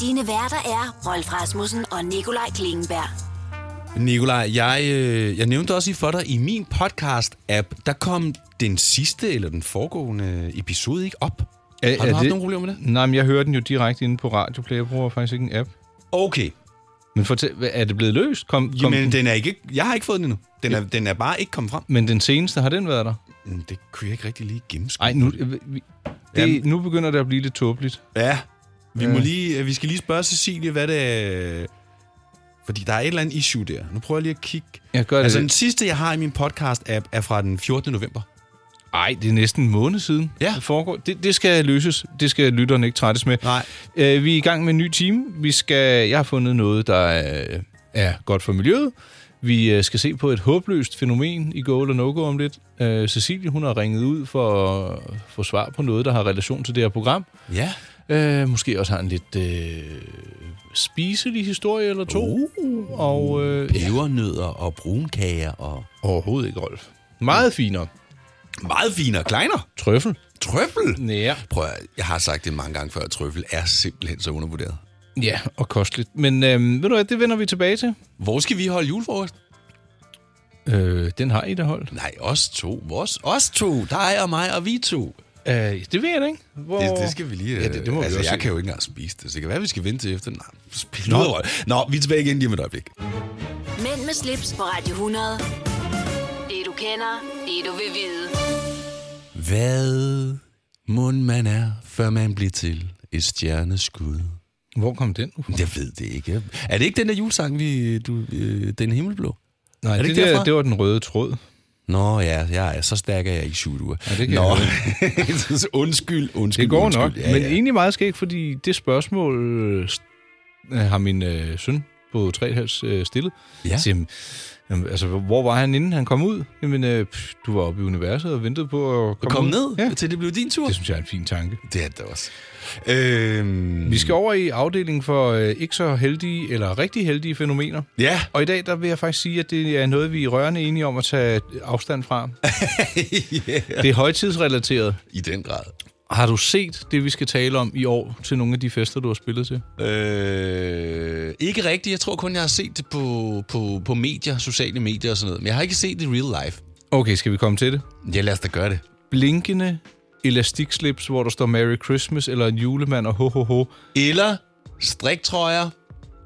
A: Dine værter er Rolf Rasmussen og Nikolaj Klingenberg.
B: Nikolaj, jeg, øh, jeg nævnte også i for dig, i min podcast-app, der kom den sidste eller den foregående episode ikke op.
C: Er,
B: Har du haft nogle problemer med
C: det? Nej, men jeg hører den jo direkte inde på Radio Play. Jeg bruger faktisk ikke en app.
B: Okay.
C: Men fortæl, hvad- er det blevet løst? Kom, kom
B: Jamen, den er ikke, jeg har ikke fået den endnu. Den er, den er bare ikke kommet frem.
C: Men den seneste, har den været der?
B: Mm, Det kunne jeg ikke rigtig lige gennemskue.
C: Nej, nu, øh, vi- det, nu begynder det at blive lidt tåbeligt.
B: Ja, vi, må
C: Øh.
B: lige, vi skal lige spørge Cecilie, hvad det er... Fordi der er et eller andet issue der. Nu prøver jeg lige at kigge.
C: Jeg gør det.
B: altså, den sidste, jeg har i min podcast-app, er fra den 14. november.
C: Ej, det er næsten en måned siden, ja. det foregår. Det, det skal løses. Det skal lytterne ikke trættes med.
B: Nej.
C: Øh, vi er i gang med en ny time. Vi skal, jeg har fundet noget, der øh, er godt for miljøet. Vi øh, skal se på et håbløst fænomen i Go eller No Go om lidt. Øh, Cecilie, hun har ringet ud for at få svar på noget, der har relation til det her program.
B: Ja.
C: Øh, måske også har en lidt øh, spiselig historie eller to. Uh, og øh,
B: Pebernødder og brunkager og...
C: Overhovedet ikke, Rolf. Meget finere.
B: Meget finere. Kleiner.
C: Trøffel.
B: Trøffel?
C: Ja.
B: Prøv at, jeg har sagt det mange gange før, at trøffel er simpelthen så undervurderet.
C: Ja, og kosteligt. Men øh, ved du hvad, det vender vi tilbage til.
B: Hvor skal vi holde julefrokost?
C: Øh, den har I da holdt.
B: Nej, os to. Vores, os to. Dig og mig og vi to.
C: Øh, det ved jeg da ikke. Hvor...
B: Det, det skal vi lige...
C: Ja, det, det må
B: altså,
C: vi også
B: jeg
C: se.
B: kan jo ikke engang spise det, så det kan være, vi skal vente til efter. Nej, spil ud over. Nå, vi er tilbage igen lige om et øjeblik.
A: Mænd med slips på Radio 100. Det du kender, det du vil vide.
B: Hvad mund man er, før man bliver til et stjerneskud?
C: Hvor kom den? Ufra?
B: Jeg ved det ikke. Er det ikke den der julesang, vi, du, øh, den himmelblå?
C: Nej,
B: er
C: det, det,
B: ikke
C: der,
B: derfra?
C: det var den røde tråd.
B: Nå ja, jeg er, så stærk er jeg ikke syv uger.
C: Ja, det kan
B: Nå,
C: jeg
B: undskyld, undskyld.
C: Det går
B: undskyld.
C: nok, ja,
B: Ja,
C: men
B: ja.
C: egentlig meget skægt, fordi det spørgsmål øh, st- øh, har min øh, søn på 3,5 øh, stillet.
B: Ja.
C: Jeg Siger, "Jamen, jamen, altså, hvor var han, inden han kom ud? Jamen, øh, pff, du var oppe i universet og ventede på at komme
B: Kom
C: ud.
B: ned, ja. til det blev din tur.
C: Det synes jeg er en fin tanke.
B: Det er det også. Øhm,
C: Vi skal over i afdelingen for øh, ikke så heldige eller rigtig heldige fænomener.
B: Ja,
C: Og i dag, der vil jeg faktisk sige, at det er noget, vi er rørende enige om at tage afstand fra. yeah. Det er højtidsrelateret.
B: i den grad.
C: Har du set det, vi skal tale om i år til nogle af de fester, du har spillet til?
B: Øh, ikke rigtigt. Jeg tror kun, jeg har set det på, på, på medier, sociale medier og sådan noget. Men jeg har ikke set det i real life.
C: Okay, skal vi komme til det?
B: Ja, lad os da gøre det.
C: Blinkende elastikslips, hvor der står Merry Christmas eller en julemand og ho, ho, ho.
B: Eller striktrøjer.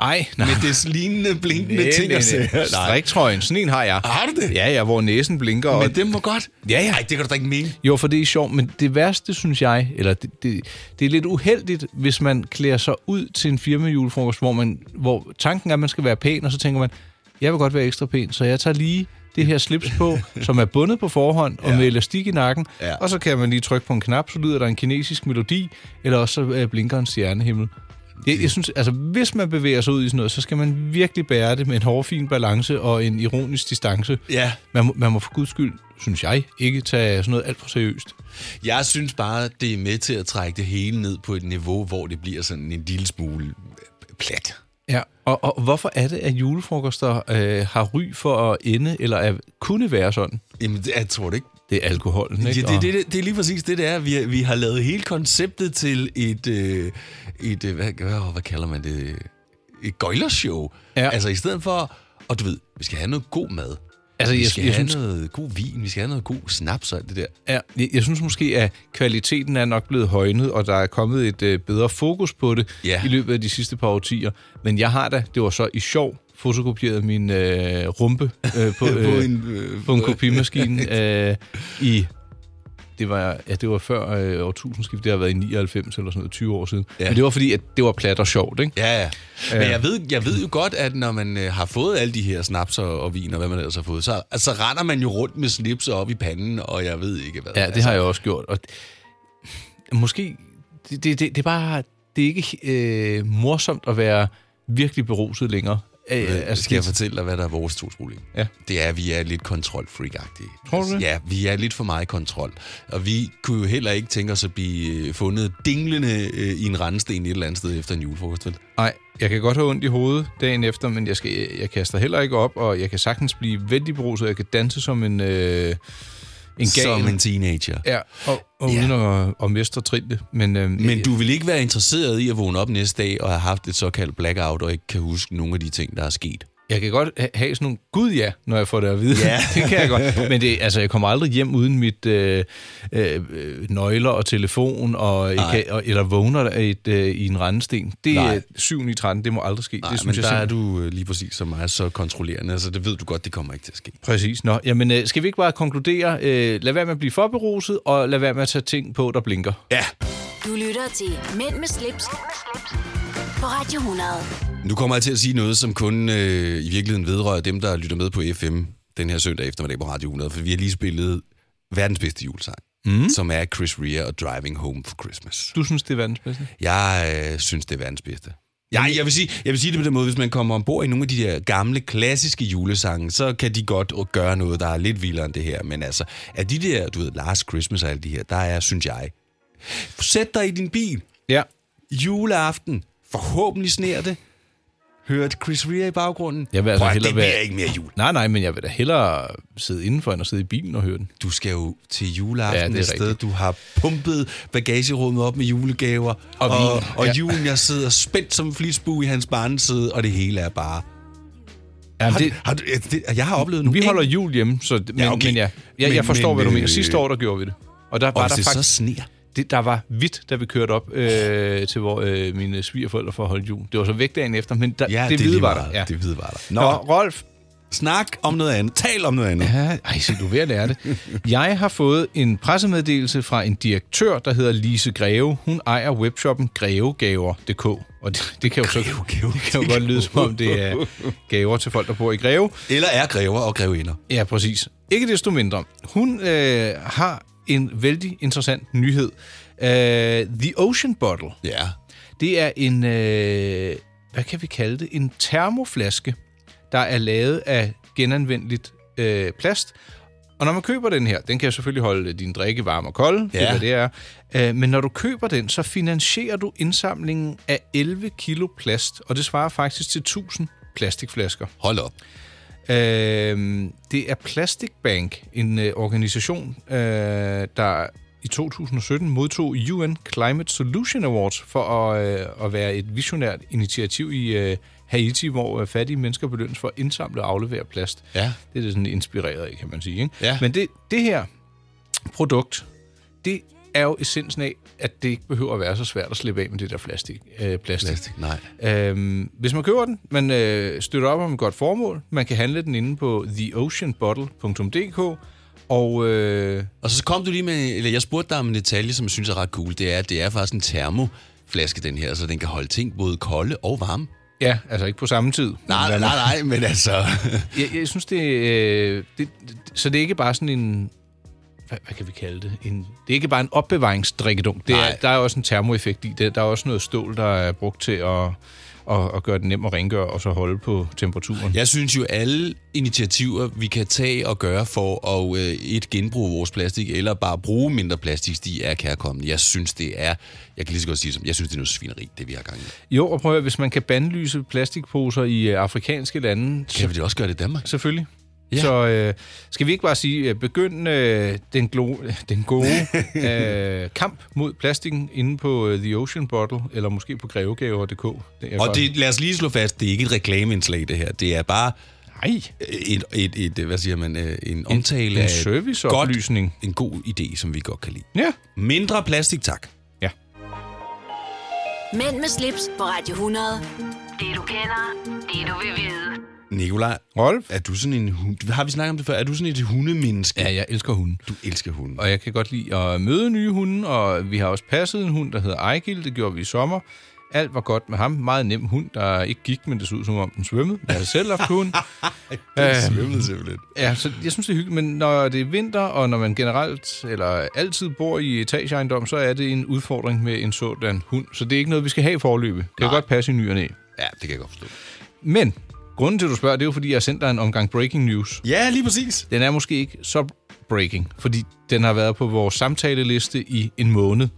C: Ej,
B: nej. Med des lignende blinkende ting og sager. Nej.
C: Striktrøjen, sådan en har jeg.
B: Har du det?
C: Ja, ja, hvor næsen blinker. og-
B: Men det må godt.
C: Ja, ja.
B: Ej, det kan du da ikke mene.
C: Jo, for det er sjovt, men det værste, synes jeg, eller det, det, det er lidt uheldigt, hvis man klæder sig ud til en firmajulefrokost, hvor, man, hvor tanken er, at man skal være pæn, og så tænker man, jeg vil godt være ekstra pæn, så jeg tager lige det her slips på, som er bundet på forhånd og ja. med elastik i nakken,
B: Ja.
C: ja. og så kan man lige trykke på en knap, så lyder der en kinesisk melodi, eller også så øh, blinker en stjernehimmel. Jeg, jeg synes, altså, hvis man bevæger sig ud i sådan noget, så skal man virkelig bære det med en hårfin balance og en ironisk distance.
B: Ja.
C: Man, må- man må for guds skyld, synes jeg, ikke tage sådan noget alt for seriøst.
B: Jeg synes bare, det er med til at trække det hele ned på et niveau, hvor det bliver sådan en lille smule øh, plat.
C: Ja, og, og hvorfor er det, at julefrokoster øh, har ry for at ende, eller at kunne være sådan?
B: Jamen, det- jeg tror det ikke.
C: Det er alkoholen, ikke?
B: Ja, det, det, det, det er lige præcis det, det er. Vi, vi har lavet hele konceptet til et, øh, et øh, hvad, hvad, hvad kalder man det, et gøjlershow.
C: Ja.
B: Altså i stedet for, og du ved, vi skal have noget god mad.
C: Altså,
B: vi
C: jeg-
B: skal
C: jeg
B: have
C: synes-
B: noget god vin, vi skal have noget god snaps og alt det der.
C: Ja, jeg, jeg synes måske, at kvaliteten er nok blevet højnet, og der er kommet et øh, bedre fokus på det
B: Ja.
C: i løbet af de sidste par årtier. Men jeg har da, det var så i sjov, fotokopieret min øh, rumpe øh, på, øh, på, en, øh, på en kopimaskine øh, i... Det var, ja, det var før øh, årtusindskiftet, det har været i 99 eller sådan noget, 20 år siden.
B: Ja.
C: Ja. Men det var fordi, at det var plat og sjovt, ikke?
B: Ja, ja. Men
C: Øh.
B: jeg ved, jeg ved jo godt, at når man øh, har fået alle de her snaps og, og vin og hvad man ellers har fået, så altså, render man jo rundt med slips op i panden, og jeg ved ikke hvad.
C: Ja, det
B: altså,
C: har jeg også gjort. Og måske, det, det, det, det er bare, det er ikke øh, morsomt at være virkelig beruset længere. Øh,
B: Altså,
C: altså,
B: skal jeg
C: det-
B: fortælle dig, hvad der er vores to problem?
C: Ja.
B: Det er, at vi er lidt kontrolfreak-agtige.
C: Tror du det?
B: Ja, vi er lidt for meget i kontrol. Og vi kunne jo heller ikke tænke os at blive øh, fundet dinglende øh, i en rendesten et eller andet sted efter en julefrokost. vel?
C: Nej, jeg kan godt have ondt i hovedet dagen efter, men jeg, skal, jeg kaster heller ikke op, og jeg kan sagtens blive vældig beruset, og jeg kan danse som en, øh, en gal.
B: Som en teenager.
C: Ja, og, og uden at, at mestre trille. Men, øh,
B: Men du vil ikke være interesseret i at vågne op næste dag og have haft et såkaldt blackout og ikke kan huske nogle af de ting, der er sket.
C: Jeg kan godt ha- have sådan nogle, gud ja, når jeg får det at vide.
B: Ja.
C: det kan jeg godt. Men det, altså, jeg kommer aldrig hjem uden mit øh, øh, øh, nøgler og telefon, og, jeg kan, og eller vågner et, øh, i en rendesten. Det
B: Nej.
C: er 7 i 13, det må aldrig ske.
B: Nej,
C: det
B: men
C: synes
B: der
C: jeg
B: er
C: simpelthen-
B: du øh, lige præcis som mig så kontrollerende, altså det ved du godt, det kommer ikke til at ske.
C: Præcis. Nå, jamen, øh, skal vi ikke bare konkludere, øh, lad være med at blive forberuset, og lad være med at tage ting på, der blinker.
B: Ja.
A: Du lytter til Mænd med slips, på Radio 100.
B: Nu kommer jeg til at sige noget, som kun øh, i virkeligheden vedrører dem, der lytter med på FM den her søndag eftermiddag på Radio 100, for vi har lige spillet verdens bedste julesang, mm. som er Chris Rea og Driving Home for Christmas.
C: Du synes, det er verdens bedste?
B: Jeg øh, synes, det er verdens bedste. Ja, jeg vil, sige, jeg vil sige det på den måde, hvis man kommer ombord i nogle af de der gamle, klassiske julesange, så kan de godt gøre noget, der er lidt vildere end det her. Men altså, af de der, du ved, Last Christmas og alle de her, der er, synes jeg, sæt dig i din bil,
C: Ja.
B: juleaften, forhåbentlig sneer det, hører et Chris Rea i baggrunden.
C: Jeg vil altså
B: Prøv, at-
C: hellere
B: det bliver
C: være-
B: ikke mere jul.
C: Nej, nej, men jeg vil da hellere sidde indenfor, end at sidde i bilen og høre den.
B: Du skal jo til juleaften
C: Ja, det er
B: et sted.
C: rigtigt.
B: Du har pumpet bagagerummet op med julegaver.
C: Og vin.
B: og, og
C: Ja.
B: julen, jeg sidder spændt som en flisbue i hans barneside, og det hele er bare...
C: Jamen,
B: Har, det, har, du- ja, det, jeg har oplevet nu.
C: Vi holder jul hjemme, så, men, ja,
B: okay.
C: okay. men ja, jeg,
B: Men-
C: jeg forstår, men,
B: men,
C: hvad du mener.
B: øh,
C: Sidste år, der gjorde vi det. Og der
B: Og
C: var
B: hvis
C: der
B: det
C: faktisk...
B: så sneer.
C: Det, der var hvidt, da vi kørte op øh, til hvor, øh, mine svigerforældre for at holde jul. Det var så væk dagen efter, men der,
B: Ja,
C: det,
B: er
C: hvide
B: lige
C: var
B: meget.
C: der. Ja.
B: Det hvide var der.
C: Nå, Rolf.
B: Snak om noget andet. Tal om noget andet.
C: Ja, ej, se, du er ved at lære det. Jeg har fået en pressemeddelelse fra en direktør, der hedder Lise Greve. Hun ejer webshoppen grevegaver.dk. Og det, det kan jo så
B: Grevegaver.dk.
C: det kan jo godt lyde, som om det er gaver til folk, der bor i Greve.
B: Eller er grever og grevinder.
C: Ja, præcis. Ikke desto mindre. Hun øh, har en vældig interessant nyhed. Øh, The Ocean Bottle.
B: Ja.
C: Det er en, øh, hvad kan vi kalde det? En termoflaske, der er lavet af genanvendeligt øh, plast. Og når man køber den her, den kan selvfølgelig holde din drikke varm og kold, ja. det
B: Ja.
C: er hvad det er. Øh, men når du køber den, så finansierer du indsamlingen af 11 kilo plast, og det svarer faktisk til 1000 plastikflasker.
B: Hold op.
C: Øh, det er Plastic Bank, en øh, organisation, øh, der i 2017 modtog UN Climate Solution Awards for at, øh, at være et visionært initiativ i øh, Haiti, hvor øh, fattige mennesker belønnes for at indsamle og aflevere plast.
B: Ja.
C: Det er det sådan inspireret af, kan man sige. Ikke?
B: Ja.
C: Men det, det her produkt, det er jo essensen af, at det ikke behøver at være så svært at slippe af med det der plastik. Øh, plastik.
B: plastik. Nej.
C: Øhm, hvis man køber den, man øh, støtter op om et godt formål. Man kan handle den inde på theoceanbottle.dk. Og, øh,
B: og så kom du lige med, eller jeg spurgte dig om en detalje, som jeg synes er ret cool. Det er, at det er faktisk en termoflaske, den her, så den kan holde ting både kolde og varme.
C: Ja, altså ikke på samme tid.
B: Nej, nej, nej, men altså...
C: jeg, jeg synes, det, øh, det, det... Så det er ikke bare sådan en... Hvad, hvad kan vi kalde det? En, det er ikke bare en opbevaringsdrikkedunk. Det er,
B: Nej.
C: der er også en termoeffekt i det. Der er også noget stål, der er brugt til at, at, at gøre det nemt at rengøre, og så holde på temperaturen.
B: Jeg synes jo, alle initiativer, vi kan tage og gøre for at øh, et genbruge vores plastik, eller bare bruge mindre plastik, de er kærkommende. Jeg synes, det er... Jeg kan lige så godt sige, det som jeg synes, det er noget svineri, det vi har gang i.
C: Jo, og prøv at høre, hvis man kan bandlyse plastikposer i øh, afrikanske lande...
B: Kan vi det også gøre det i Danmark?
C: Selvfølgelig. Ja. Så øh, skal vi ikke bare sige, øh, begynd øh, den, glo, den gode øh, kamp mod plastikken inde på øh, The Ocean Bottle, eller måske på grevegaver.dk. Det er
B: Og
C: godt.
B: det, lad os lige slå fast, det er ikke et reklameindslag, det her. Det er bare...
C: Nej.
B: Et, et, et, hvad siger man, øh, en omtale
C: en
B: af et
C: serviceoplysning.
B: Godt, en god idé, som vi godt kan lide.
C: Ja.
B: Mindre plastik, tak.
C: Ja.
A: Mænd med slips på Radio 100. Det du kender, det du vil vide.
B: Nikolaj,
C: Rolf?
B: er du sådan en hund... Har vi snakket om det før? Er du sådan et hundemenneske?
C: Ja, jeg elsker hunden.
B: Du elsker hunden.
C: Og jeg kan godt lide at møde nye hunde, og vi har også passet en hund, der hedder Ejgil. Det gjorde vi i sommer. Alt var godt med ham. Meget nem hund, der ikke gik, men det så ud som om den svømmede. Jeg har selv haft hund.
B: Jeg svømmede simpelthen.
C: Ja, så jeg synes, det er hyggeligt, men når det er vinter, og når man generelt eller altid bor i etageejendom, så er det en udfordring med en sådan hund. Så det er ikke noget, vi skal have i forløbet. Det kan godt passe i ny og næ.
B: Ja, det kan jeg godt forstå.
C: Men grunden til, at du spørger, det er jo, fordi jeg har sendt dig en omgang breaking news.
B: Ja, lige præcis.
C: Den er måske ikke så breaking, fordi den har været på vores samtaleliste i en måned.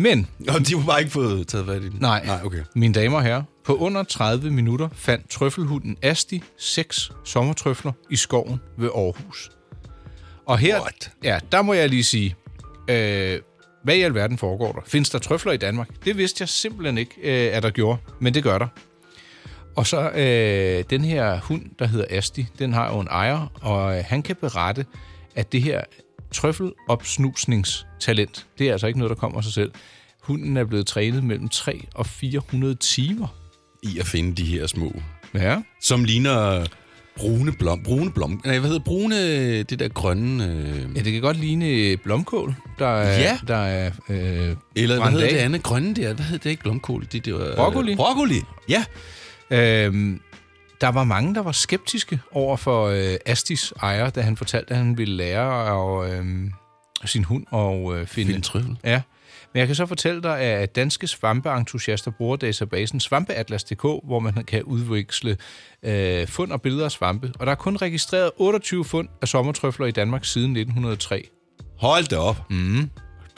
C: Men
B: Og de har bare ikke fået taget fat i den.
C: Nej.
B: Nej, okay.
C: Mine damer og herrer, på under 30 minutter fandt trøffelhunden Asti seks sommertrøfler i skoven ved Aarhus. Og her,
B: What?
C: ja, der må jeg lige sige, øh, hvad i alverden foregår der? Findes der trøfler i Danmark? Det vidste jeg simpelthen ikke, øh, at der gjorde, men det gør der. Og så øh, den her hund, der hedder Asti, den har jo en ejer, og øh, han kan berette, at det her trøffelopsnusningstalent, det er altså ikke noget, der kommer af sig selv. Hunden er blevet trænet mellem 3 og 400 timer.
B: I at finde de her små,
C: Ja.
B: som ligner brune blom... Brune blom... Nej, hvad hedder brune... Det der grønne... Øh,
C: ja, det kan godt ligne øh, blomkål, der er...
B: Ja.
C: Der er øh,
B: eller hvad
C: brændt
B: hedder
C: af.
B: det andet grønne der? Hvad hedder det ikke? Blomkål? Det, det var,
C: Broccoli.
B: Broccoli. Ja.
C: Øhm, der var mange, der var skeptiske over for øh, Astis ejer, da han fortalte, at han ville lære og, øh, sin hund at øh, finde...
B: Finde trøffel.
C: Ja. Men jeg kan så fortælle dig, at danske svampeentusiaster bruger databasen svampeatlas.dk, hvor man kan udveksle øh, fund og billeder af svampe. Og der er kun registreret 28 fund af sommertrøfler i Danmark siden 1903.
B: Hold da op. Mm.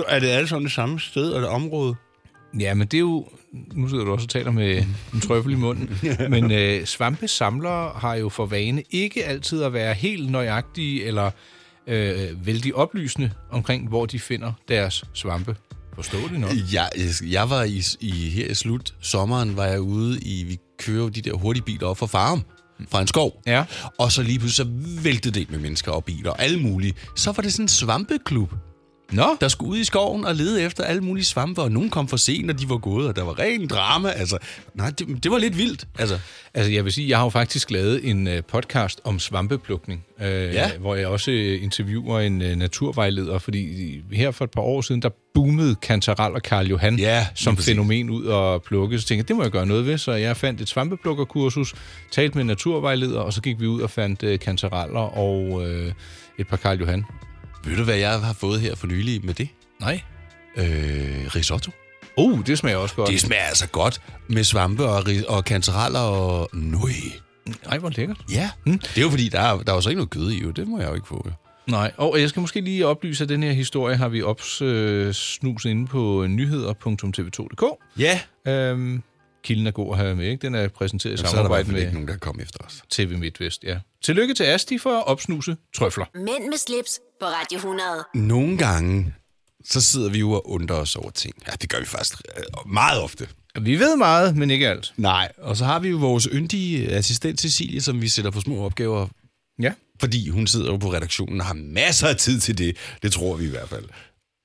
B: Er det alle sammen det samme sted og det område?
C: Ja, men det er jo... Nu sidder du også og taler med en trøffel i munden. Men øh, svampesamlere har jo for vane ikke altid at være helt nøjagtige eller øh, vældig oplysende omkring, hvor de finder deres svampe. Forståeligt nok.
B: Jeg, jeg var i, i, her i slut sommeren, var jeg ude i, vi kører jo de der hurtige biler op fra farm, fra en skov.
C: Ja.
B: Og så lige pludselig så væltede det med mennesker og biler og alle mulige. Så var det sådan en svampeklub,
C: Nå,
B: der skulle ud i skoven og lede efter alle mulige svampe, og nogen kom for sent, og de var gået, og der var ren drama. Altså, nej, det, det var lidt vildt. Altså,
C: Altså, jeg vil sige, jeg har jo faktisk lavet en øh, podcast om svampeplukning, øh,
B: Ja.
C: hvor jeg også øh, interviewer en øh, naturvejleder, fordi her for et par år siden, der boomede kantarel og Karl Johan
B: Ja, lige
C: som
B: præcis.
C: fænomen ud og plukke. Så tænkte jeg, det må jeg gøre noget ved, så jeg fandt et svampeplukkerkursus, talte med en naturvejleder, og så gik vi ud og fandt øh, kantareller og øh, et par Karl Johan.
B: ved du, hvad jeg har fået her for nylig med det?
C: Nej.
B: Øh, risotto.
C: Uh, det smager også godt.
B: Det smager altså godt med svampe og, ri- og kantereller og... Nøj.
C: Nej, hvor lækkert.
B: Ja, Hm? det er jo fordi, der er, der er jo så ikke noget kød i, jo. det må jeg jo ikke få. Jo.
C: Nej, og jeg skal måske lige oplyse, at den her historie har vi opsnuset inde på nyheder.tv2.dk.
B: Ja,
C: Øhm, kilden er god at have med, ikke? Den er præsenteret i
B: så er der i hvert
C: samarbejde
B: fald
C: med
B: ikke nogen, der kommer efter os.
C: TV MidtVest, ja. Tillykke til Asti for at opsnuse trøfler.
A: Mænd med slips på Radio 100.
B: Nogle gange, så sidder vi jo og undrer os over ting. Ja, det gør vi faktisk øh, meget ofte.
C: Vi ved meget, men ikke alt.
B: Nej, og så har vi jo vores yndige assistent Cecilie, som vi sætter på små opgaver,
C: Ja.
B: fordi hun sidder jo på redaktionen og har masser af tid til det. Det tror vi i hvert fald.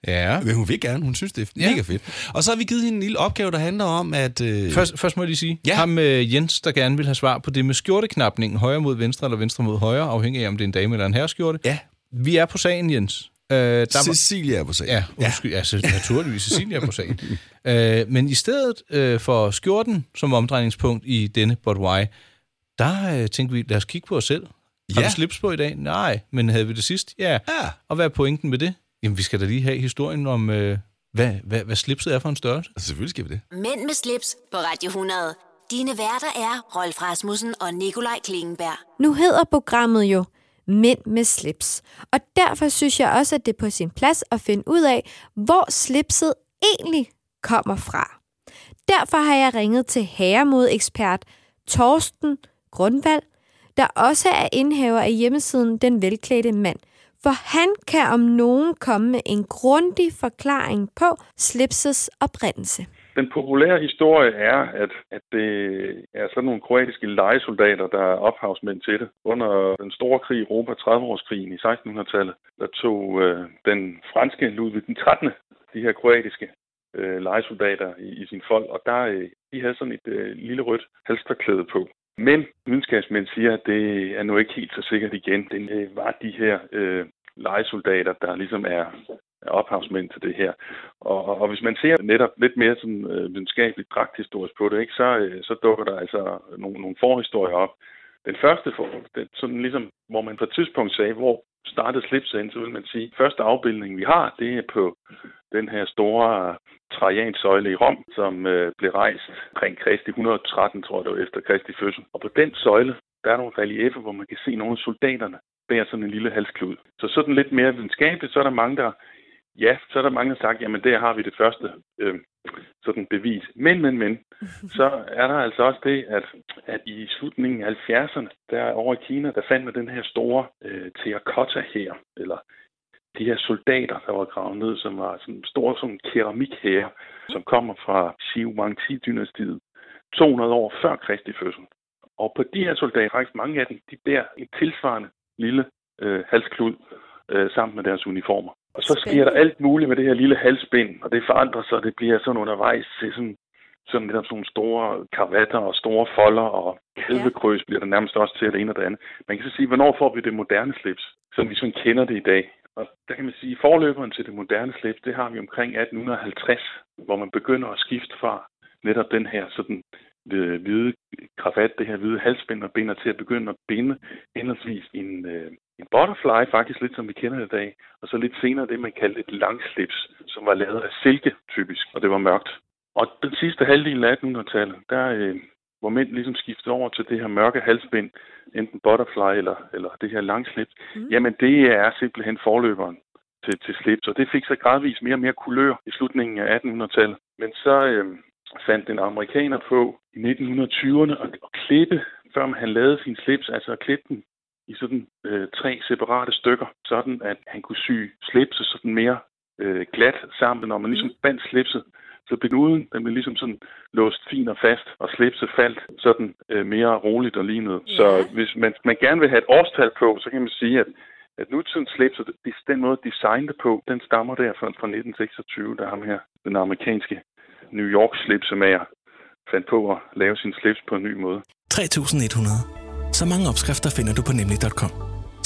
C: Ja.
L: Men hun vil gerne. Hun synes, det er mega fedt. Og så har vi givet hende en lille opgave, der handler om, at... Øh,
C: Først, først må jeg lige sige, ja. ham øh, Jens, der gerne vil have svar på det med skjorteknapningen, højre mod venstre eller venstre mod højre, afhængig af, om det er en dame eller en herreskjorte.
L: Ja.
C: Vi er på sagen, Jens. Øh, der var-
L: Cecilia er på sagen.
C: Ja, undskyld, ja. altså naturligvis Cecilia er på sagen. Øh, men i stedet øh, for skjorten som omdrejningspunkt i denne But Why, der øh, tænkte vi, lad os kigge på os selv. Har
L: Ja.
C: vi slips på i dag? Nej, men havde vi det sidst? Ja. ja. Og hvad er pointen med det? Jamen, vi skal da lige have historien om, øh, hvad, hvad, hvad slipset er for en størrelse.
B: Altså,
L: Selvfølgelig skal vi det.
A: Mænd med slips på Radio 100. Dine værter er Rolf Rasmussen og Nikolaj Klingenberg.
M: Nu hedder programmet jo Mænd med slips. Og derfor synes jeg også, at det er på sin plads at finde ud af, hvor slipset egentlig kommer fra. Derfor har jeg ringet til herremodekspert Torsten Grundvald, der også er indhaver af hjemmesiden Den Velklædte Mand. For han kan om nogen komme med en grundig forklaring på slipsets oprindelse.
B: Den populære historie er, at, at det er sådan nogle kroatiske legesoldater, der er ophavsmænd til det. Under den store krig i Europa, 30-årskrigen i 1600-tallet, der tog øh, den franske Ludvig den 13. de her kroatiske øh, legesoldater i, i sin folk, og der, øh, de havde sådan et øh, lille rødt halsterklæde på. Men videnskabsmænd siger, at det er nu ikke helt så sikkert igen. Det øh, var de her øh, legesoldater, der ligesom er er ophavsmænd til det her. Og, og, og hvis man ser netop lidt mere sådan, øh, videnskabeligt, pragthistorisk på det, ikke, så, øh, så dukker der altså nogle, nogle forhistorier op. Den første forhold, den, sådan ligesom, hvor man på et tidspunkt sagde, hvor startede slipsen, så vil man sige, første afbildning, vi har, det er på den her store Trajansøjle i Rom, som øh, blev rejst omkring Kristi 113, tror jeg det var, efter Kristi fødsel. Og på den søjle, der er nogle reliefer, hvor man kan se nogle af soldaterne bærer sådan en lille halsklud. Så sådan lidt mere videnskabeligt, så er der mange, der Ja, så er der mange, der har sagt, jamen der har vi det første øh, sådan bevis. Men, men, men, så er der altså også det, at, at i slutningen af 70'erne, der over i Kina, der fandt man den her store øh, terracotta her, eller de her soldater, der var gravet ned, som var sådan store som keramik her, som kommer fra Xi Wangti-dynastiet 200 år før Kristi fødsel. Og på de her soldater, faktisk mange af dem, de bærer en tilsvarende lille øh, halsklud øh, sammen med deres uniformer. Og så sker der alt muligt med det her lille halsbind, og det forandrer sig, og det bliver sådan undervejs til sådan, sådan lidt om sådan nogle store karvatter og store folder, og kalvekrøs bliver der nærmest også til det ene og det andet. Man kan så sige, hvornår får vi det moderne slips, som vi sådan kender det i dag. Og der kan man sige, forløberen til det moderne slips, det har vi omkring 1850, hvor man begynder at skifte fra netop den her sådan øh, hvide kravat, det her hvide halsbind og binder til at begynde at binde henholdsvis en, øh, en butterfly, faktisk lidt som vi kender det i dag, og så lidt senere det, man kaldte et langslips, som var lavet af silke typisk, og det var mørkt. Og den sidste halvdel af 1800-tallet, der øh, hvor mænd ligesom skiftede over til det her mørke halsbind, enten butterfly eller, eller det her langslips, mm. jamen det er simpelthen forløberen til, til slips, og det fik så gradvist mere og mere kulør i slutningen af 1800-tallet. Men så øh, fandt en amerikaner på i 1920'erne at, at klippe, før han lavede sin slips, altså at klippe den i sådan øh, tre separate stykker, sådan at han kunne sy slipset sådan mere øh, glat sammen. Når man ligesom bandt slipset, så blev uden, den blev ligesom sådan låst fint og fast, og slipset faldt sådan øh, mere roligt og lignede. Yeah. Så hvis man, man gerne vil have et årstal på, så kan man sige, at at nutidens slips, og det- den måde, de designede på, den stammer der fra, fra 1926, der ham her, den amerikanske New York slipsemager, fandt på at lave sin slips på en ny måde.
N: 3100. Så mange opskrifter finder du på nemlig.com.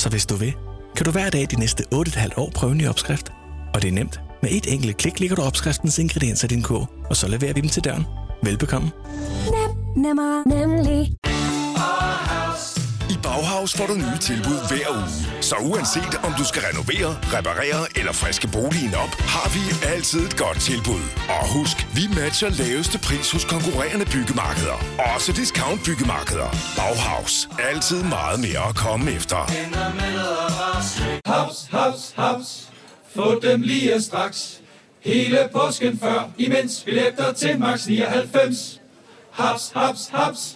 N: Så hvis du vil, kan du hver dag de næste 8,5 år prøve en ny opskrift. Og det er nemt. Med et enkelt klik ligger du opskriftens ingredienser i din kog, og så leverer vi dem til døren. Velbekomme.
O: Nemmer, nemlig.
P: I Bauhaus får du nye tilbud hver uge. Så uanset om du skal renovere, reparere eller friske boligen op, har vi altid et godt tilbud. Og husk, vi matcher laveste pris hos konkurrerende byggemarkeder. Også discount byggemarkeder. Bauhaus. Altid meget mere at komme efter.
D: Haps, haps, haps. Få dem lige straks. Hele påsken før, imens billetter til max 99. Haps, haps, haps.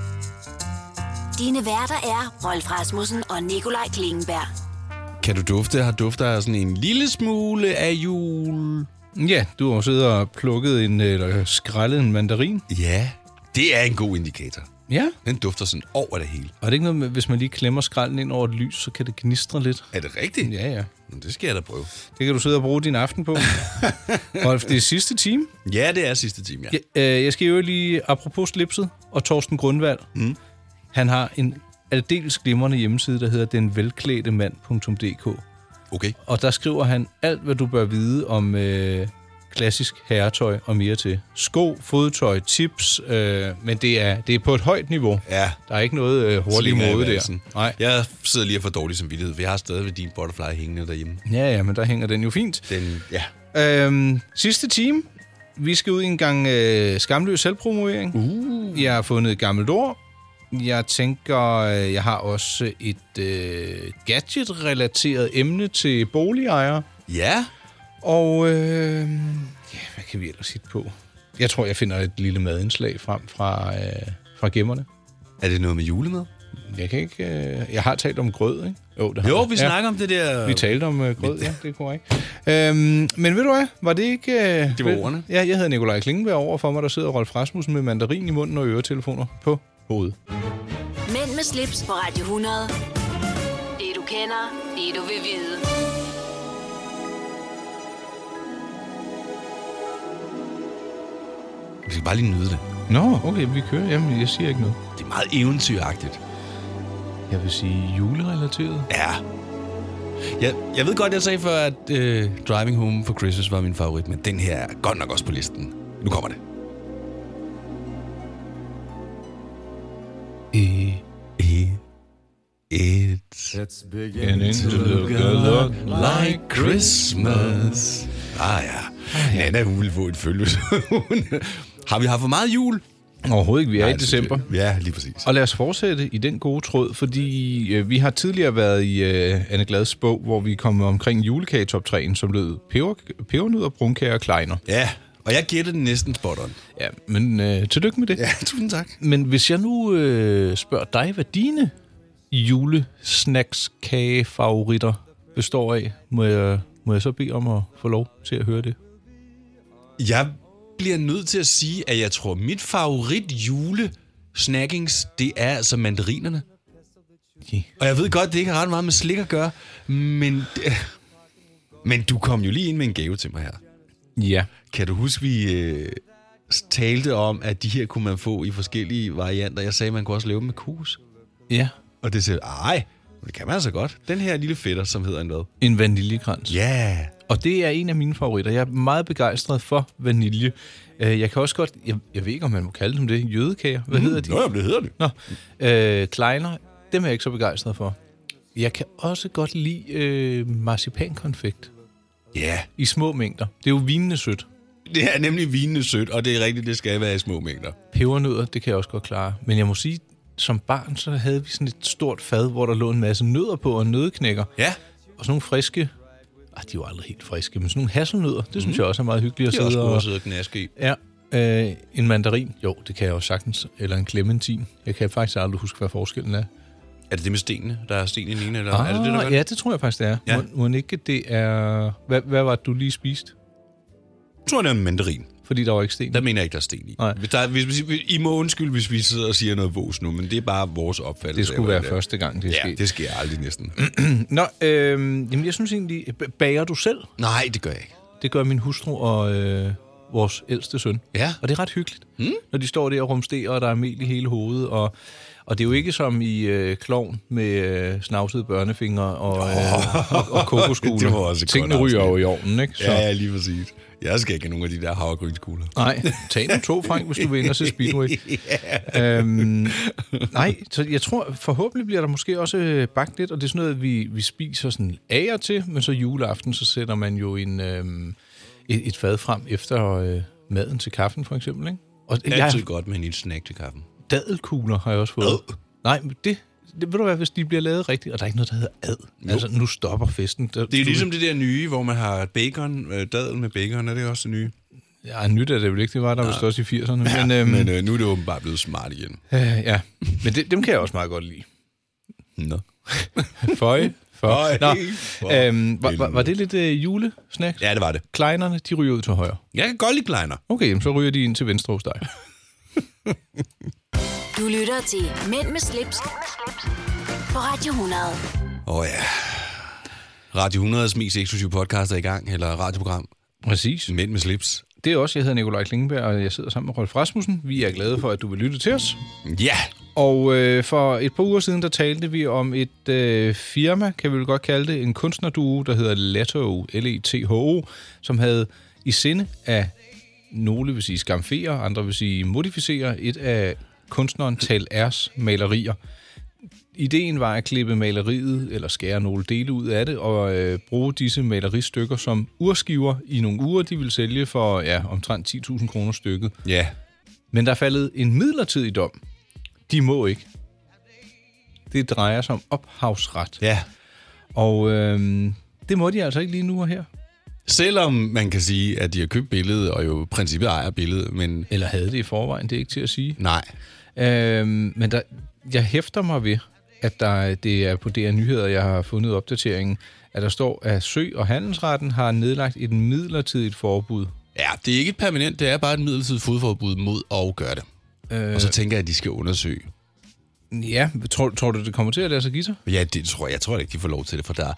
A: Dine værter er Rolf Rasmussen og Nikolaj Klingenberg.
B: Kan du dufte? Har dufter sådan en lille smule af jul?
C: Ja, du har jo siddet og plukket en, eller skrællet en mandarin.
B: Ja, det er en god indikator.
C: Ja.
B: Den dufter sådan over det hele.
C: Og er det ikke noget med, hvis man lige klemmer skralden ind over et lys, så kan det gnistre lidt?
B: Er det rigtigt?
C: Ja, ja.
B: Men det skal jeg da prøve.
C: Det kan du sidde og bruge din aften på. Rolf, det er sidste time.
B: Ja, det er sidste time, ja.
C: Jeg, øh, jeg skal jo lige, apropos slipset og Torsten Grundvald,
B: Mm.
C: han har en aldeles glimrende hjemmeside, der hedder denvelklædemand.dk.
B: Okay.
C: Og der skriver han alt, hvad du bør vide om øh, klassisk herretøj og mere til. Sko, fodtøj, tips, øh, men det er, det er på et højt niveau.
B: Ja.
C: Der er ikke noget øh, hurtig
B: Selina
C: mode der.
B: Evansen. Jeg sidder lige og får dårlig samvittighed, for jeg har stadigvæk din butterfly hængende derhjemme.
C: Ja, ja, men der hænger den jo fint.
B: Den, ja.
C: Øhm, sidste time. Vi skal ud i en gang øh, skamløs selvpromovering.
B: Uh.
C: Jeg har fundet et gammelt ord. Jeg tænker, øh, jeg har også et øh, gadget-relateret emne til boligejere.
B: Ja.
C: Og øh, ja, hvad kan vi ellers hitte på? Jeg tror, jeg finder et lille madindslag frem fra, øh, fra gemmerne.
B: Er det noget med julemad?
C: Jeg kan ikke... Øh, jeg har talt om grød, ikke? Jo, det har
B: Jo,
C: jeg.
B: vi
C: Ja.
B: snakker om det der...
C: Vi talte om øh, grød, ja, det er korrekt. Øhm, men ved du hvad, var det ikke... Øh,
B: Det var
C: ved-
B: ordene.
C: Ja, jeg hedder Nikolaj Klingenberg over for mig, der sidder Rolf Rasmussen med mandarin i munden og øretelefoner på hovedet.
A: Mænd med slips på Radio 100. Det du kender, det du vil vide.
B: Vi skal bare lige nyde det.
C: Nå, okay, vi kører. Jamen, jeg siger ikke noget.
B: Det er meget eventyragtigt.
C: Jeg vil sige julerelateret.
B: Ja. Jeg, jeg ved godt, jeg sagde før, at øh, Driving Home for Christmas var min favorit, men den her er godt nok også på listen. Nu kommer det.
C: E.
B: E. It's,
Q: It's
B: beginning to look a lot like Christmas. Ah ja, Nana hun vil få et følge. Har vi haft for meget jul?
C: Overhovedet ikke, vi er i
B: det synes
C: december.
B: jeg- Ja, lige præcis.
C: Og lad os fortsætte i den gode tråd, fordi øh, vi har tidligere været i øh, Anne Glads bog, hvor vi kom omkring julekagetop 3'en, som lød peber, pebernødder, brunkager og kleiner.
B: Ja, og jeg gættede den næsten spot on.
C: Ja, men øh, tillykke med det.
B: Ja, tusind tak.
C: Men hvis jeg nu øh, spørger dig, hvad dine julesnackskagefavoritter består af, må jeg, må jeg så bede om at få lov til at høre det?
B: Jeg bliver nødt til at sige, at jeg tror, mit favorit jule snackings, det er altså mandarinerne.
C: Okay.
B: Og jeg ved godt, det ikke har ret meget med slik at gøre, men, men du kom jo lige ind med en gave til mig her.
C: Ja.
B: Kan du huske, vi øh, talte om, at de her kunne man få i forskellige varianter. Jeg sagde, at man kunne også lave dem med kos.
C: Ja.
B: Og det sagde, ej, det kan man altså godt. Den her lille fætter, som hedder en hvad?
C: En vaniljekrans.
B: Ja.
C: Og det er en af mine favoritter. Jeg er meget begejstret for vanilje. Øh, Jeg kan også godt... Jeg, jeg ved ikke, om man må kalde dem det. Jødekager. Hvad
B: Mm,
C: hedder de?
B: nå, jamen, det hedder det.
C: Nå. Øh, kleiner. Dem er jeg ikke så begejstret for. Jeg kan også godt lide øh, marcipankonfekt.
B: Ja.
C: I små mængder. Det er jo vinende sødt.
B: Det er nemlig vinende sødt, og det er rigtigt, det skal være i små mængder.
C: Pebernødder, det kan jeg også godt klare. Men jeg må sige, som barn, så havde vi sådan et stort fad, hvor der lå en masse nødder på og nødeknækker.
B: Ja.
C: Og sådan nogle friske... Ah, de er jo aldrig helt friske, men sådan nogle hasselnødder, det synes jeg også er meget hyggeligt at
B: Det Mhm. er også
C: sidde
B: gode
C: og...
B: at sidde og gnaske i.
C: Ja. Øh, en mandarin, jo, det kan jeg jo sagtens. Eller en clementin. Jeg kan faktisk aldrig huske, hvad forskellen er.
B: Er det det med stenene? Der er sten i den ene, eller ah, er det det, der gør
C: ja, det tror jeg faktisk, det er.
B: Ja.
C: Ja. Må, må den ikke det er... Hvad, hvad var det, du lige spiste?
B: Jeg tror, det er en mandarin.
C: Fordi der var ikke sten.
B: Der mener jeg ikke, der er sten i.
C: Nej.
B: Hvis der, er- hvis, hvis, hvis, I må undskylde, hvis vi sidder og siger noget vås nu, men det er bare vores opfattelse.
C: Det skulle
B: af, hvordan
C: være første gang, det er
B: ja,
C: sket.
B: det sker aldrig næsten.
C: Nå, øh, jamen, jeg synes egentlig... b- Bager du selv?
B: Nej, det gør jeg ikke.
C: Det gør min hustru og øh, vores ældste søn.
B: Ja.
C: Og det er ret hyggeligt,
B: Hmm?
C: mm. når de står der og rumsterer, og der er mel i hele hovedet. Og, og det er jo ikke som i øh, klovn med øh, snavsede børnefingre og, øh, og, og kokoskugle.
B: Det var også et
C: Tingene
B: godt
C: ryger jo i
B: afsnit.
C: ovnen, ikke?
B: Ja, ja, lige præcis. Jeg skal ikke have nogen af de der havregrynskugler.
C: Nej, tag nu to, Frank, hvis du vil ind og se Speedway. øhm, nej, så jeg tror, forhåbentlig bliver der måske også øh, bagt lidt, og det er sådan noget, vi, vi spiser sådan af og til, men så juleaften, så sætter man jo en, øhm, et, et fad frem efter øh, maden til kaffen, for eksempel. Ikke? Og
B: Det er
C: jeg,
B: altid godt med en lille snack til kaffen.
C: dadelkugler har jeg også fået.
B: Ad.
C: Nej, men det, det, ved du hvad, hvis de bliver lavet rigtigt, og der er ikke noget, der hedder ad. Altså, nu stopper festen. Der,
B: ligesom- Det er ligesom det der nye, hvor man har bacon, øh, dadel med bacon, er det også det nye?
C: Ja, nyt er det vel ikke. Det var der vist også i 80'erne.
B: Ja,
C: men, øhm,
B: men øh, nu er det åbenbart blevet smart igen.
C: Øh, ja, men det, dem kan jeg også meget godt lide.
B: Nå.
C: Føj. Føj.
B: Føj.
C: Nå.
B: For
C: Øhm, var, var, var det lidt øh, julesnack?
B: Ja, det var det.
C: Kleinerne, de ryger ud til højre.
B: Jeg kan godt lide kleiner.
C: Okay, jamen, så ryger de ind til venstre hos dig.
A: Du lytter til Mænd med slips, på Radio 100.
B: Åh oh, ja. Radio 100's mest eksklusive podcast er i gang, eller radioprogram.
C: Præcis.
B: Mænd med slips.
C: Det er også, jeg hedder Nikolaj Klingenberg, og jeg sidder sammen med Rolf Rasmussen. Vi er glade for, at du vil lytte til os.
B: Ja.
C: Og øh, for et par uger siden, der talte vi om et øh, firma, kan vi vel godt kalde det, en kunstnerduo, der hedder E Letto, L-E-T-H-O, som havde i sinde af, nogle vil sige skamfere, andre vil sige modificere, et af kunstneren Tal Ers malerier. Ideen var at klippe maleriet, eller skære nogle dele ud af det, og øh, bruge disse maleristykker som urskiver i nogle uger, de ville sælge for ja, omtrent 10.000 kroner stykket.
B: Ja.
C: Men der er faldet en midlertidig dom. De må ikke. Det drejer sig om ophavsret.
B: Ja.
C: Og øhm, det må de altså ikke lige nu og her.
B: Selvom man kan sige, at de har købt billedet, og jo i princippet ejer billedet, men...
C: Eller havde det i forvejen, det er ikke til at sige.
B: Nej.
C: Øhm, men der, jeg hæfter mig ved, at der, det er på DR Nyheder, jeg har fundet opdateringen, at der står, at Sø- og Handelsretten har nedlagt et midlertidigt forbud.
B: Ja, det er ikke et permanent, det er bare et midlertidigt fodforbud mod at gøre det.
C: Øh,
B: Øh... Og så tænker jeg, at de skal undersøge.
C: ja, tror, tror du, det kommer til at lade sig give sig?
B: Ja, det tror jeg. Jeg tror ikke, de får lov til det, for der,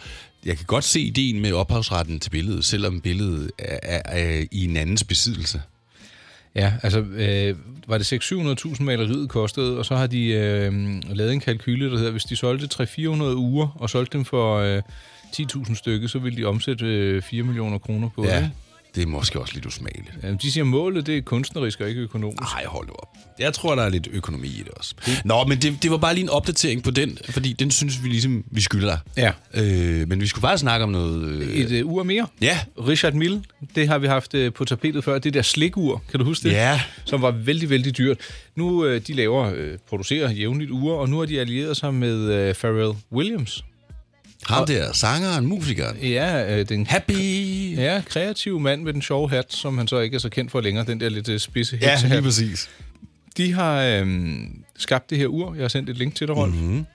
B: jeg kan godt se ideen med ophavsretten til billedet, selvom billedet er, er, er i en andens besiddelse.
C: Ja, altså øh, var det 600-700.000 maleriet kostede, og så har de øh, lavet en kalkyle, der hedder, hvis de solgte 300-400 uger og solgte dem for øh, 10.000 stykker, så ville de omsætte øh, 4 millioner kroner på det.
B: Ja,
C: ikke?
B: det er måske også lidt usmageligt.
C: Jamen, de siger, målet det er kunstnerisk og ikke økonomisk.
B: Nej, hold nu op. Jeg tror, der er lidt økonomi i det også. Nå, men det, det var bare lige en opdatering på den, fordi den synes vi ligesom, vi skylder dig.
C: Ja.
B: Øh, men vi skulle bare snakke om noget... Øh...
C: Et øh, ur mere.
B: Ja.
C: Richard Mille, det har vi haft øh, på tapetet før. Det der slikur, kan du huske det?
B: Ja.
C: Som var vældig, vældig dyrt. Nu øh, de laver, øh, producerer jævnligt ure, og nu har de allieret sig med øh, Pharrell Williams.
B: Ham der, sangeren, musikeren.
C: Ja, øh, den
B: Happy!
C: Ja, kreativ mand med den sjove hat, som han så ikke er så kendt for længere, den der lidt øh, spidse
B: Ja,
C: heksehat.
B: lige præcis.
C: De har øhm, skabt det her ur. Jeg har sendt et link til dig, Rolf.
B: Mhm.
C: Mm-hmm.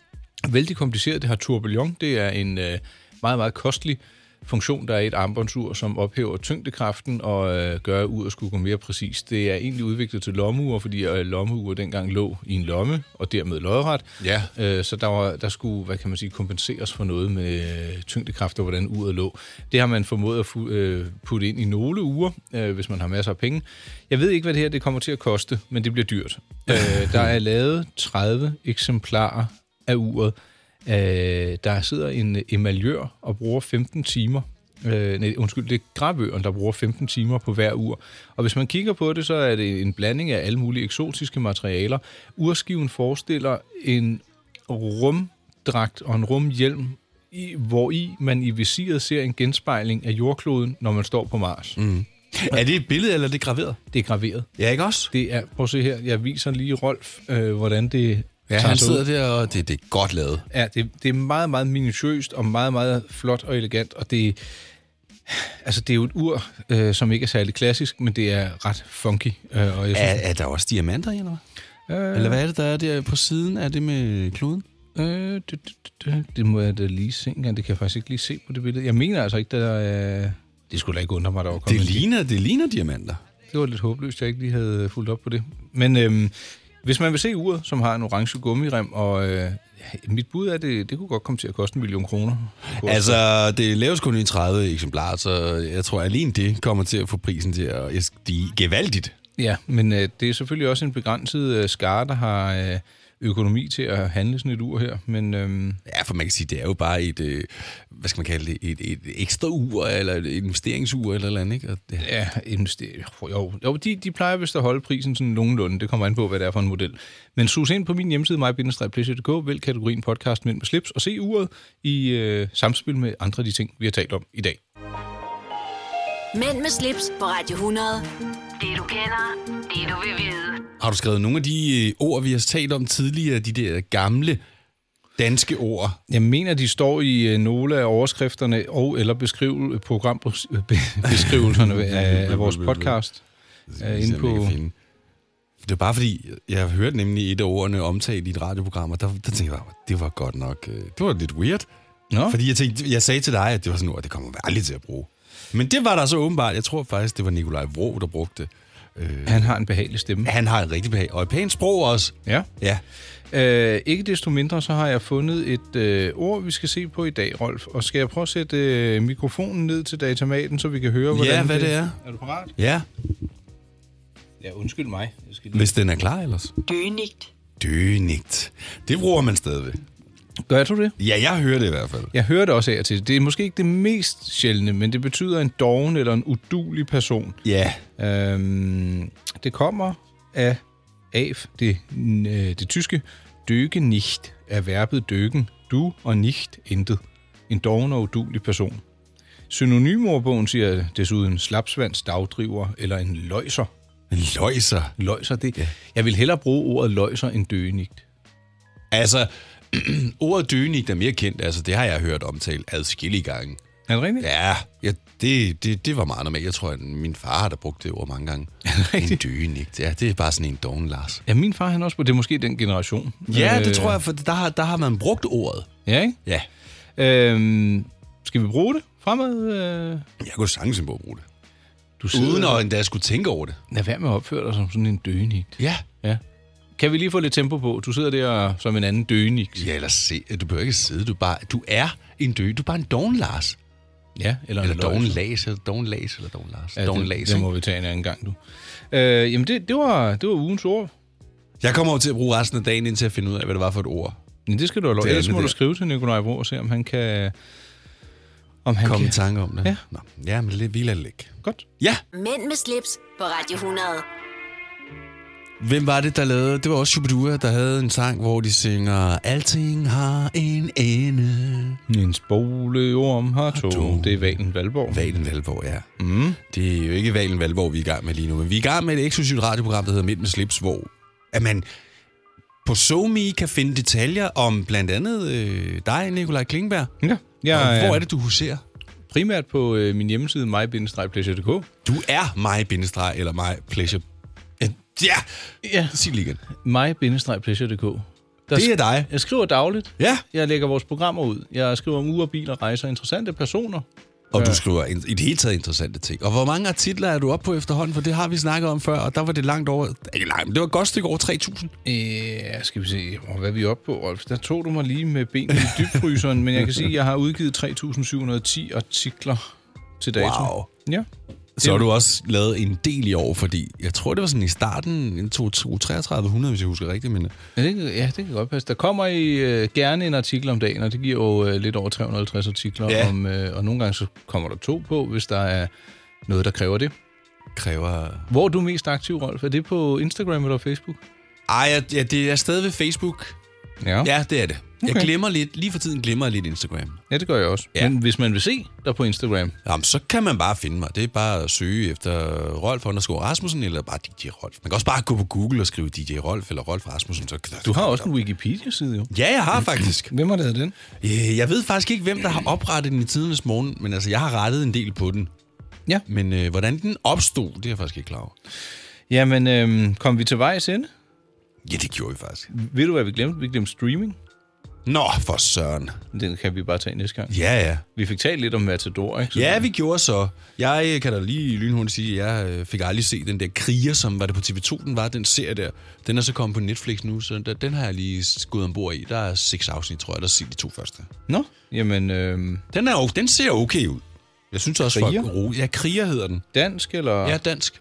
C: Vældig kompliceret. Det har tourbillon. Det er en øh, meget, meget kostelig funktion, der er i et armbåndsur, som ophæver tyngdekraften og øh, gør, at uret skulle gå mere præcist. Det er egentlig udviklet til lommeur, fordi øh, lommeur dengang lå i en lomme, og dermed lodret.
B: Ja.
C: Øh, så der, var, der skulle, hvad kan man sige, kompenseres for noget med øh, tyngdekraft og hvordan uret lå. Det har man formået at fu- øh, putte ind i nogle uger, øh, hvis man har masser af penge. Jeg ved ikke, hvad det her det kommer til at koste, men det bliver dyrt. øh, der er lavet 30 eksemplarer af uret. Øh, der sidder en øh, emaljør og bruger 15 timer. Øh, nej, undskyld, det er gravøren, der bruger 15 timer på hver ur. Og hvis man kigger på det, så er det en blanding af alle mulige eksotiske materialer. Urskiven forestiller en rumdragt og en rumhjelm, i, hvor i man i visiret ser en genspejling af jordkloden, når man står på Mars.
B: Mm. Er det et billede, eller er det graveret?
C: Det er graveret.
B: Ja, ikke også?
C: Det er, prøv at se her, jeg viser lige Rolf, øh, hvordan det
B: Ja,
C: tager
B: han
C: sig ud.
B: sidder der, og det, det er godt lavet.
C: Ja, det, det er meget, meget minutiøst og meget, meget flot og elegant, og det, altså, det er jo et ur, øh, som ikke er særlig klassisk, men det er ret funky. Øh, og jeg synes,
B: Er, er der også diamanter i, eller
C: hvad? Øh,
B: Eller hvad er det, der er der på siden? Er det med kloden?
C: Øh, det, det, det, det må jeg da lige se engang. Det kan jeg faktisk ikke lige se på det billede. Jeg mener altså ikke, der er... Det skulle da ikke undre mig, der var kommet
B: Det
C: en-
B: ligner, det ligner diamanter.
C: Det var lidt håbløst, at jeg ikke lige havde fulgt op på det. Men øhm, hvis man vil se uret, som har en orange gummirem, og øh, mit bud er, at det, det kunne godt komme til at koste en million kroner. Det kunne også-
B: Altså, det laves kun i 30 eksemplarer, så jeg tror, alene det kommer til at få prisen til at stige gevaldigt.
C: Ja, men øh, det er selvfølgelig også en begrænset øh, skare, der har øh, økonomi til at handle sådan et ur her. Men øhm,
B: Ja, for man kan sige, det er jo bare et, øh, hvad skal man kalde det, et, et ekstra ur, eller et investeringsur, eller et eller andet, ikke? Og det,
C: Ja, invester- jo, jo de, de plejer vist at holde prisen sådan nogenlunde. Det kommer an på, hvad det er for en model. Men sus ind på min hjemmeside, mig vælg kategorien podcast Mænd med slips, og se uret i øh, samspil med andre af de ting, vi har talt om i dag.
A: Mænd med slips på Radio 100. Det du kender, det du vil vide.
B: Har du skrevet nogle af de øh, ord, vi har talt om tidligere, de der gamle danske ord?
C: Jeg mener, de står i øh, nogle af øh, overskrifterne og eller beskriv, programbeskrivelserne af, af vores podcast. øh,
B: Hvis
C: inde
B: jeg ikke
C: på...
B: kan finde. Det er bare fordi, jeg hørte nemlig et af ordene omtalt i et radioprogram, og der, der tænkte jeg, bare, det var godt nok, øh, det var lidt weird.
C: Nå.
B: Fordi jeg, tænkte, jeg sagde til dig, at det var sådan noget, det kommer man aldrig til at bruge. Men det var der så åbenbart, jeg tror faktisk, det var Nikolaj Vrå, der brugte det. Øh,
C: han har en behagelig stemme.
B: Han har en rigtig behag, og et pænt sprog også.
C: Ja.
B: ja.
C: Øh, ikke desto mindre, så har jeg fundet et øh, ord, vi skal se på i dag, Rolf. Og skal jeg prøve at sætte øh, mikrofonen ned til datamaten, så vi kan høre, hvordan
B: Ja, hvad det er.
C: Er du parat?
B: Ja,
C: Ja, undskyld mig. Jeg skal
B: hvis den er klar ellers.
Q: Dynigt.
B: Dynigt. Det bruger man stadigvæk.
C: Gør du det?
B: Ja, jeg hører det i hvert fald.
C: Jeg hører det også af og til. Det er måske ikke det mest sjældne, men det betyder en doven eller en udulig person.
B: Ja.
C: Øhm, det kommer af af det, øh, det tyske døge nicht er verbet døgen. Du og nicht intet. En doven og udulig person. Synonymordbogen siger desuden slapsvands dagdriver eller en løjser.
B: En løjser?
C: Løjser, det... Ja. Jeg vil hellere bruge ordet løjser end døgenigt.
B: Altså, ordet dynigt er mere kendt, altså det har jeg hørt omtalt adskillige gange.
C: Er det rigtigt?
B: Ja, ja det, det, det var meget normalt. Jeg tror, at min far har da brugt det ord mange gange. en dynigt, ja, det er bare sådan en doven Lars.
C: Ja, min far han også, det er måske den generation. Øh,
B: Ja, det tror jeg, for der har, der har man brugt ordet.
C: Ja, ikke?
B: Ja.
C: Øhm, skal vi bruge det fremad? Øh?
B: Jeg kunne sagtens finde på at bruge det.
C: Du
B: sidder...
C: sidder-
B: Uden at endda skulle tænke over det.
C: Lad være med at opføre dig som sådan en døgenigt.
B: Ja.
C: ja. Kan vi lige få lidt tempo på? Du sidder der og- som en anden døgenigt.
B: Ja, eller se, du behøver ikke sidde, du, bare, du er en dø, du er bare en doven Lars.
C: Ja, eller,
B: eller
C: en
B: doven
C: løjser.
B: Lars, eller doven Lars, eller doven Lars.
C: Ja,
B: doven
C: det,
B: Lars,
C: det
B: ikke?
C: må vi tage en anden gang, du. Øh, jamen, det, det, var, det var ugens ord.
B: Jeg kommer jo til at bruge resten af dagen indtil jeg finder ud af, hvad det var for et ord.
C: Men det skal du have lov.
B: Det
C: Ellers
B: andet
C: må du
B: der.
C: skrive til Nikolaj Bro og se, om han kan... Om han
B: Kom i
C: kan.
B: tanke om det.
C: Ja.
B: Nå. ja men det hviler ligge.
C: Godt.
B: Ja.
A: Mænd med slips på Radio 100.
B: Hvem var det, der lavede? Det var også Shubidua, der havde en sang, hvor de synger Alting har en ende.
C: En spoleorm har to. Det er Valen Valborg.
B: Valen Valborg, ja. Mm. Det er jo ikke Valen Valborg, vi er i gang med lige nu, men vi er i gang med et eksklusivt radioprogram, der hedder Midt med slips, hvor at man på SoMe kan finde detaljer om blandt andet øh, dig, Nikolaj Klingberg.
C: Ja. Jeg,
B: Og hvor
C: øh,
B: er det, du huserer?
C: Primært på øh, min hjemmeside, mybindestrejpleasure.dk.
B: Du er mig, bindestreg, eller mig, pleasure. Ja,
C: ja.
B: sig det lige igen.
C: mig-pleasure.dk.
B: Det er dig.
C: Jeg skriver dagligt.
B: Ja.
C: Jeg lægger vores programmer ud. Jeg skriver om uger, biler, rejser, interessante personer.
B: Og du skriver in- i det hele taget interessante ting. Og hvor mange artikler er du oppe på efterhånden? For det har vi snakket om før, og der var det langt over... Ikke langt, men det var et godt stykke over 3.000.
C: Ja, Øh, skal vi se, Åh, hvad er vi oppe på, Rolf? Der tog du mig lige med benene i dybfryseren, men jeg kan sige, at jeg har udgivet 3.710 artikler til dato.
B: Wow.
C: Ja.
B: Så har du også lavet en del i år, fordi jeg tror, det var sådan i starten, en 3300, hvis jeg husker rigtigt. Men
C: Ja, det, kan- ja, det kan godt passe. Der kommer I øh, gerne en artikel om dagen, og det giver jo øh, lidt over 350 artikler.
B: Ja.
C: Om, øh, og nogle gange så kommer der to på, hvis der er noget, der kræver det.
B: kræver...
C: Hvor er du mest aktiv, Rolf? Er det på Instagram eller Facebook?
B: Ej, jeg, ja, det er stadig ved Facebook.
C: Ja.
B: Ja, det er det. Okay. Jeg
C: Okay.
B: glemmer lidt, lige for tiden glemmer jeg lidt Instagram.
C: Ja, det gør jeg også.
B: Ja.
C: Men hvis man vil se dig på Instagram,
B: Jamen, så kan man bare finde mig. Det er bare at søge efter Rolf underscore Rasmussen, eller bare DJ Rolf. Man kan også bare gå på Google og skrive DJ Rolf eller Rolf Rasmussen. Så
C: du har også en Wikipedia-side jo.
B: Ja, jeg har faktisk.
C: Hvem har lavet den?
B: Øh, Jeg ved faktisk ikke, hvem der har oprettet den i tidernes morgen, men altså, jeg har rettet en del på den.
C: Ja.
B: Men øh, hvordan den opstod, det er jeg faktisk ikke klar over.
C: Jamen, øhm, kom vi til vejs ende?
B: Ja, det gjorde vi faktisk.
C: Ved du, hvad vi glemte? Vi glemte streaming.
B: Nå, for søren.
C: Den kan vi bare tage næste gang.
B: Ja, ja.
C: Vi fik talt lidt om Matador, ikke?
B: Ja, vi gjorde så. Jeg øh, kan da lige lynhurtigt sige, at jeg øh, fik aldrig set den der Kriger, som var det på TV2, den var, den serie der. Den er så kommet på Netflix nu, så den, den har jeg lige skudt ombord i. Der er seks afsnit, tror jeg, der ser de to første.
C: Nå, jamen, øhm,
B: Den, er, jo- den ser okay ud. Jeg synes også,
C: Kriger?
B: folk ro- Ja, Kriger Ah. hedder den.
C: dansk eller...
B: Ja, dansk.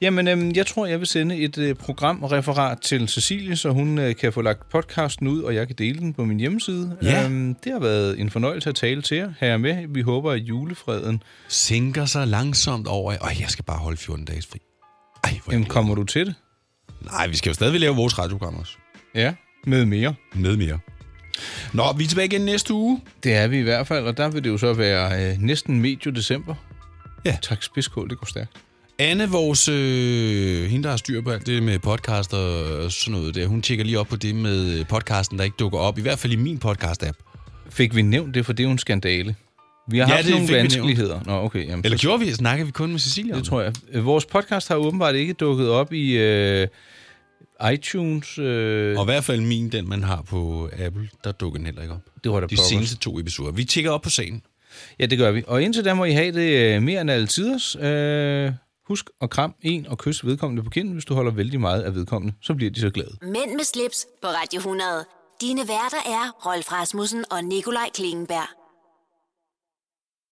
C: Jamen, øhm, jeg tror, jeg vil sende et øh, programreferat til Cecilie, så hun øh, kan få lagt podcasten ud, og jeg kan dele den på min hjemmeside.
B: Ja.
C: Øhm, det har været en fornøjelse at tale til jer. Her er med. Vi håber, at julefreden...
B: Sænker sig langsomt over. i- Øj, jeg skal bare holde 14 dages fri. Ej, hvor
C: Jamen, kommer du til det?
B: Nej, vi skal jo stadigvæk lave vores radioprogram også.
C: Ja, med mere.
B: Med mere. Nå, vi er tilbage igen næste uge.
C: Det er vi i hvert fald, og der vil det jo så være øh, næsten medio december.
B: Ja.
C: Tak spidskål, det går stærkt.
B: Anne, vores, øh, hende, der har styr på alt det med podcast og sådan noget der, hun tjekker lige op på det med podcasten, der ikke dukker op. I hvert fald i min podcast-app.
C: Fik vi nævnt det, for det er jo en skandale. Vi har
B: Ja,
C: ja, haft
B: det
C: nogle
B: fik vi nævnt.
C: vanskeligheder. Nå, okay. Jamen,
B: Eller
C: så-
B: gjorde vi? Snakkede vi kun med Cecilia? om
C: Det tror jeg. Øh, Vores podcast har åbenbart ikke dukket op i øh, iTunes. Øh,
B: Og i hvert fald min, den man har på Apple, der dukker den heller ikke op.
C: Det var da
B: De
C: pokkers.
B: seneste to episoder. Vi tjekker op på sagen.
C: Ja, det gør vi. Og indtil da må I have det øh, mere end alle tiders. Øh, husk at kram en og kys vedkommende på kinden. Hvis du holder vældig meget af vedkommende, så bliver de så glade.
A: Mænd med slips på Radio 100. Dine værter er Rolf Rasmussen og Nikolaj Klingenberg.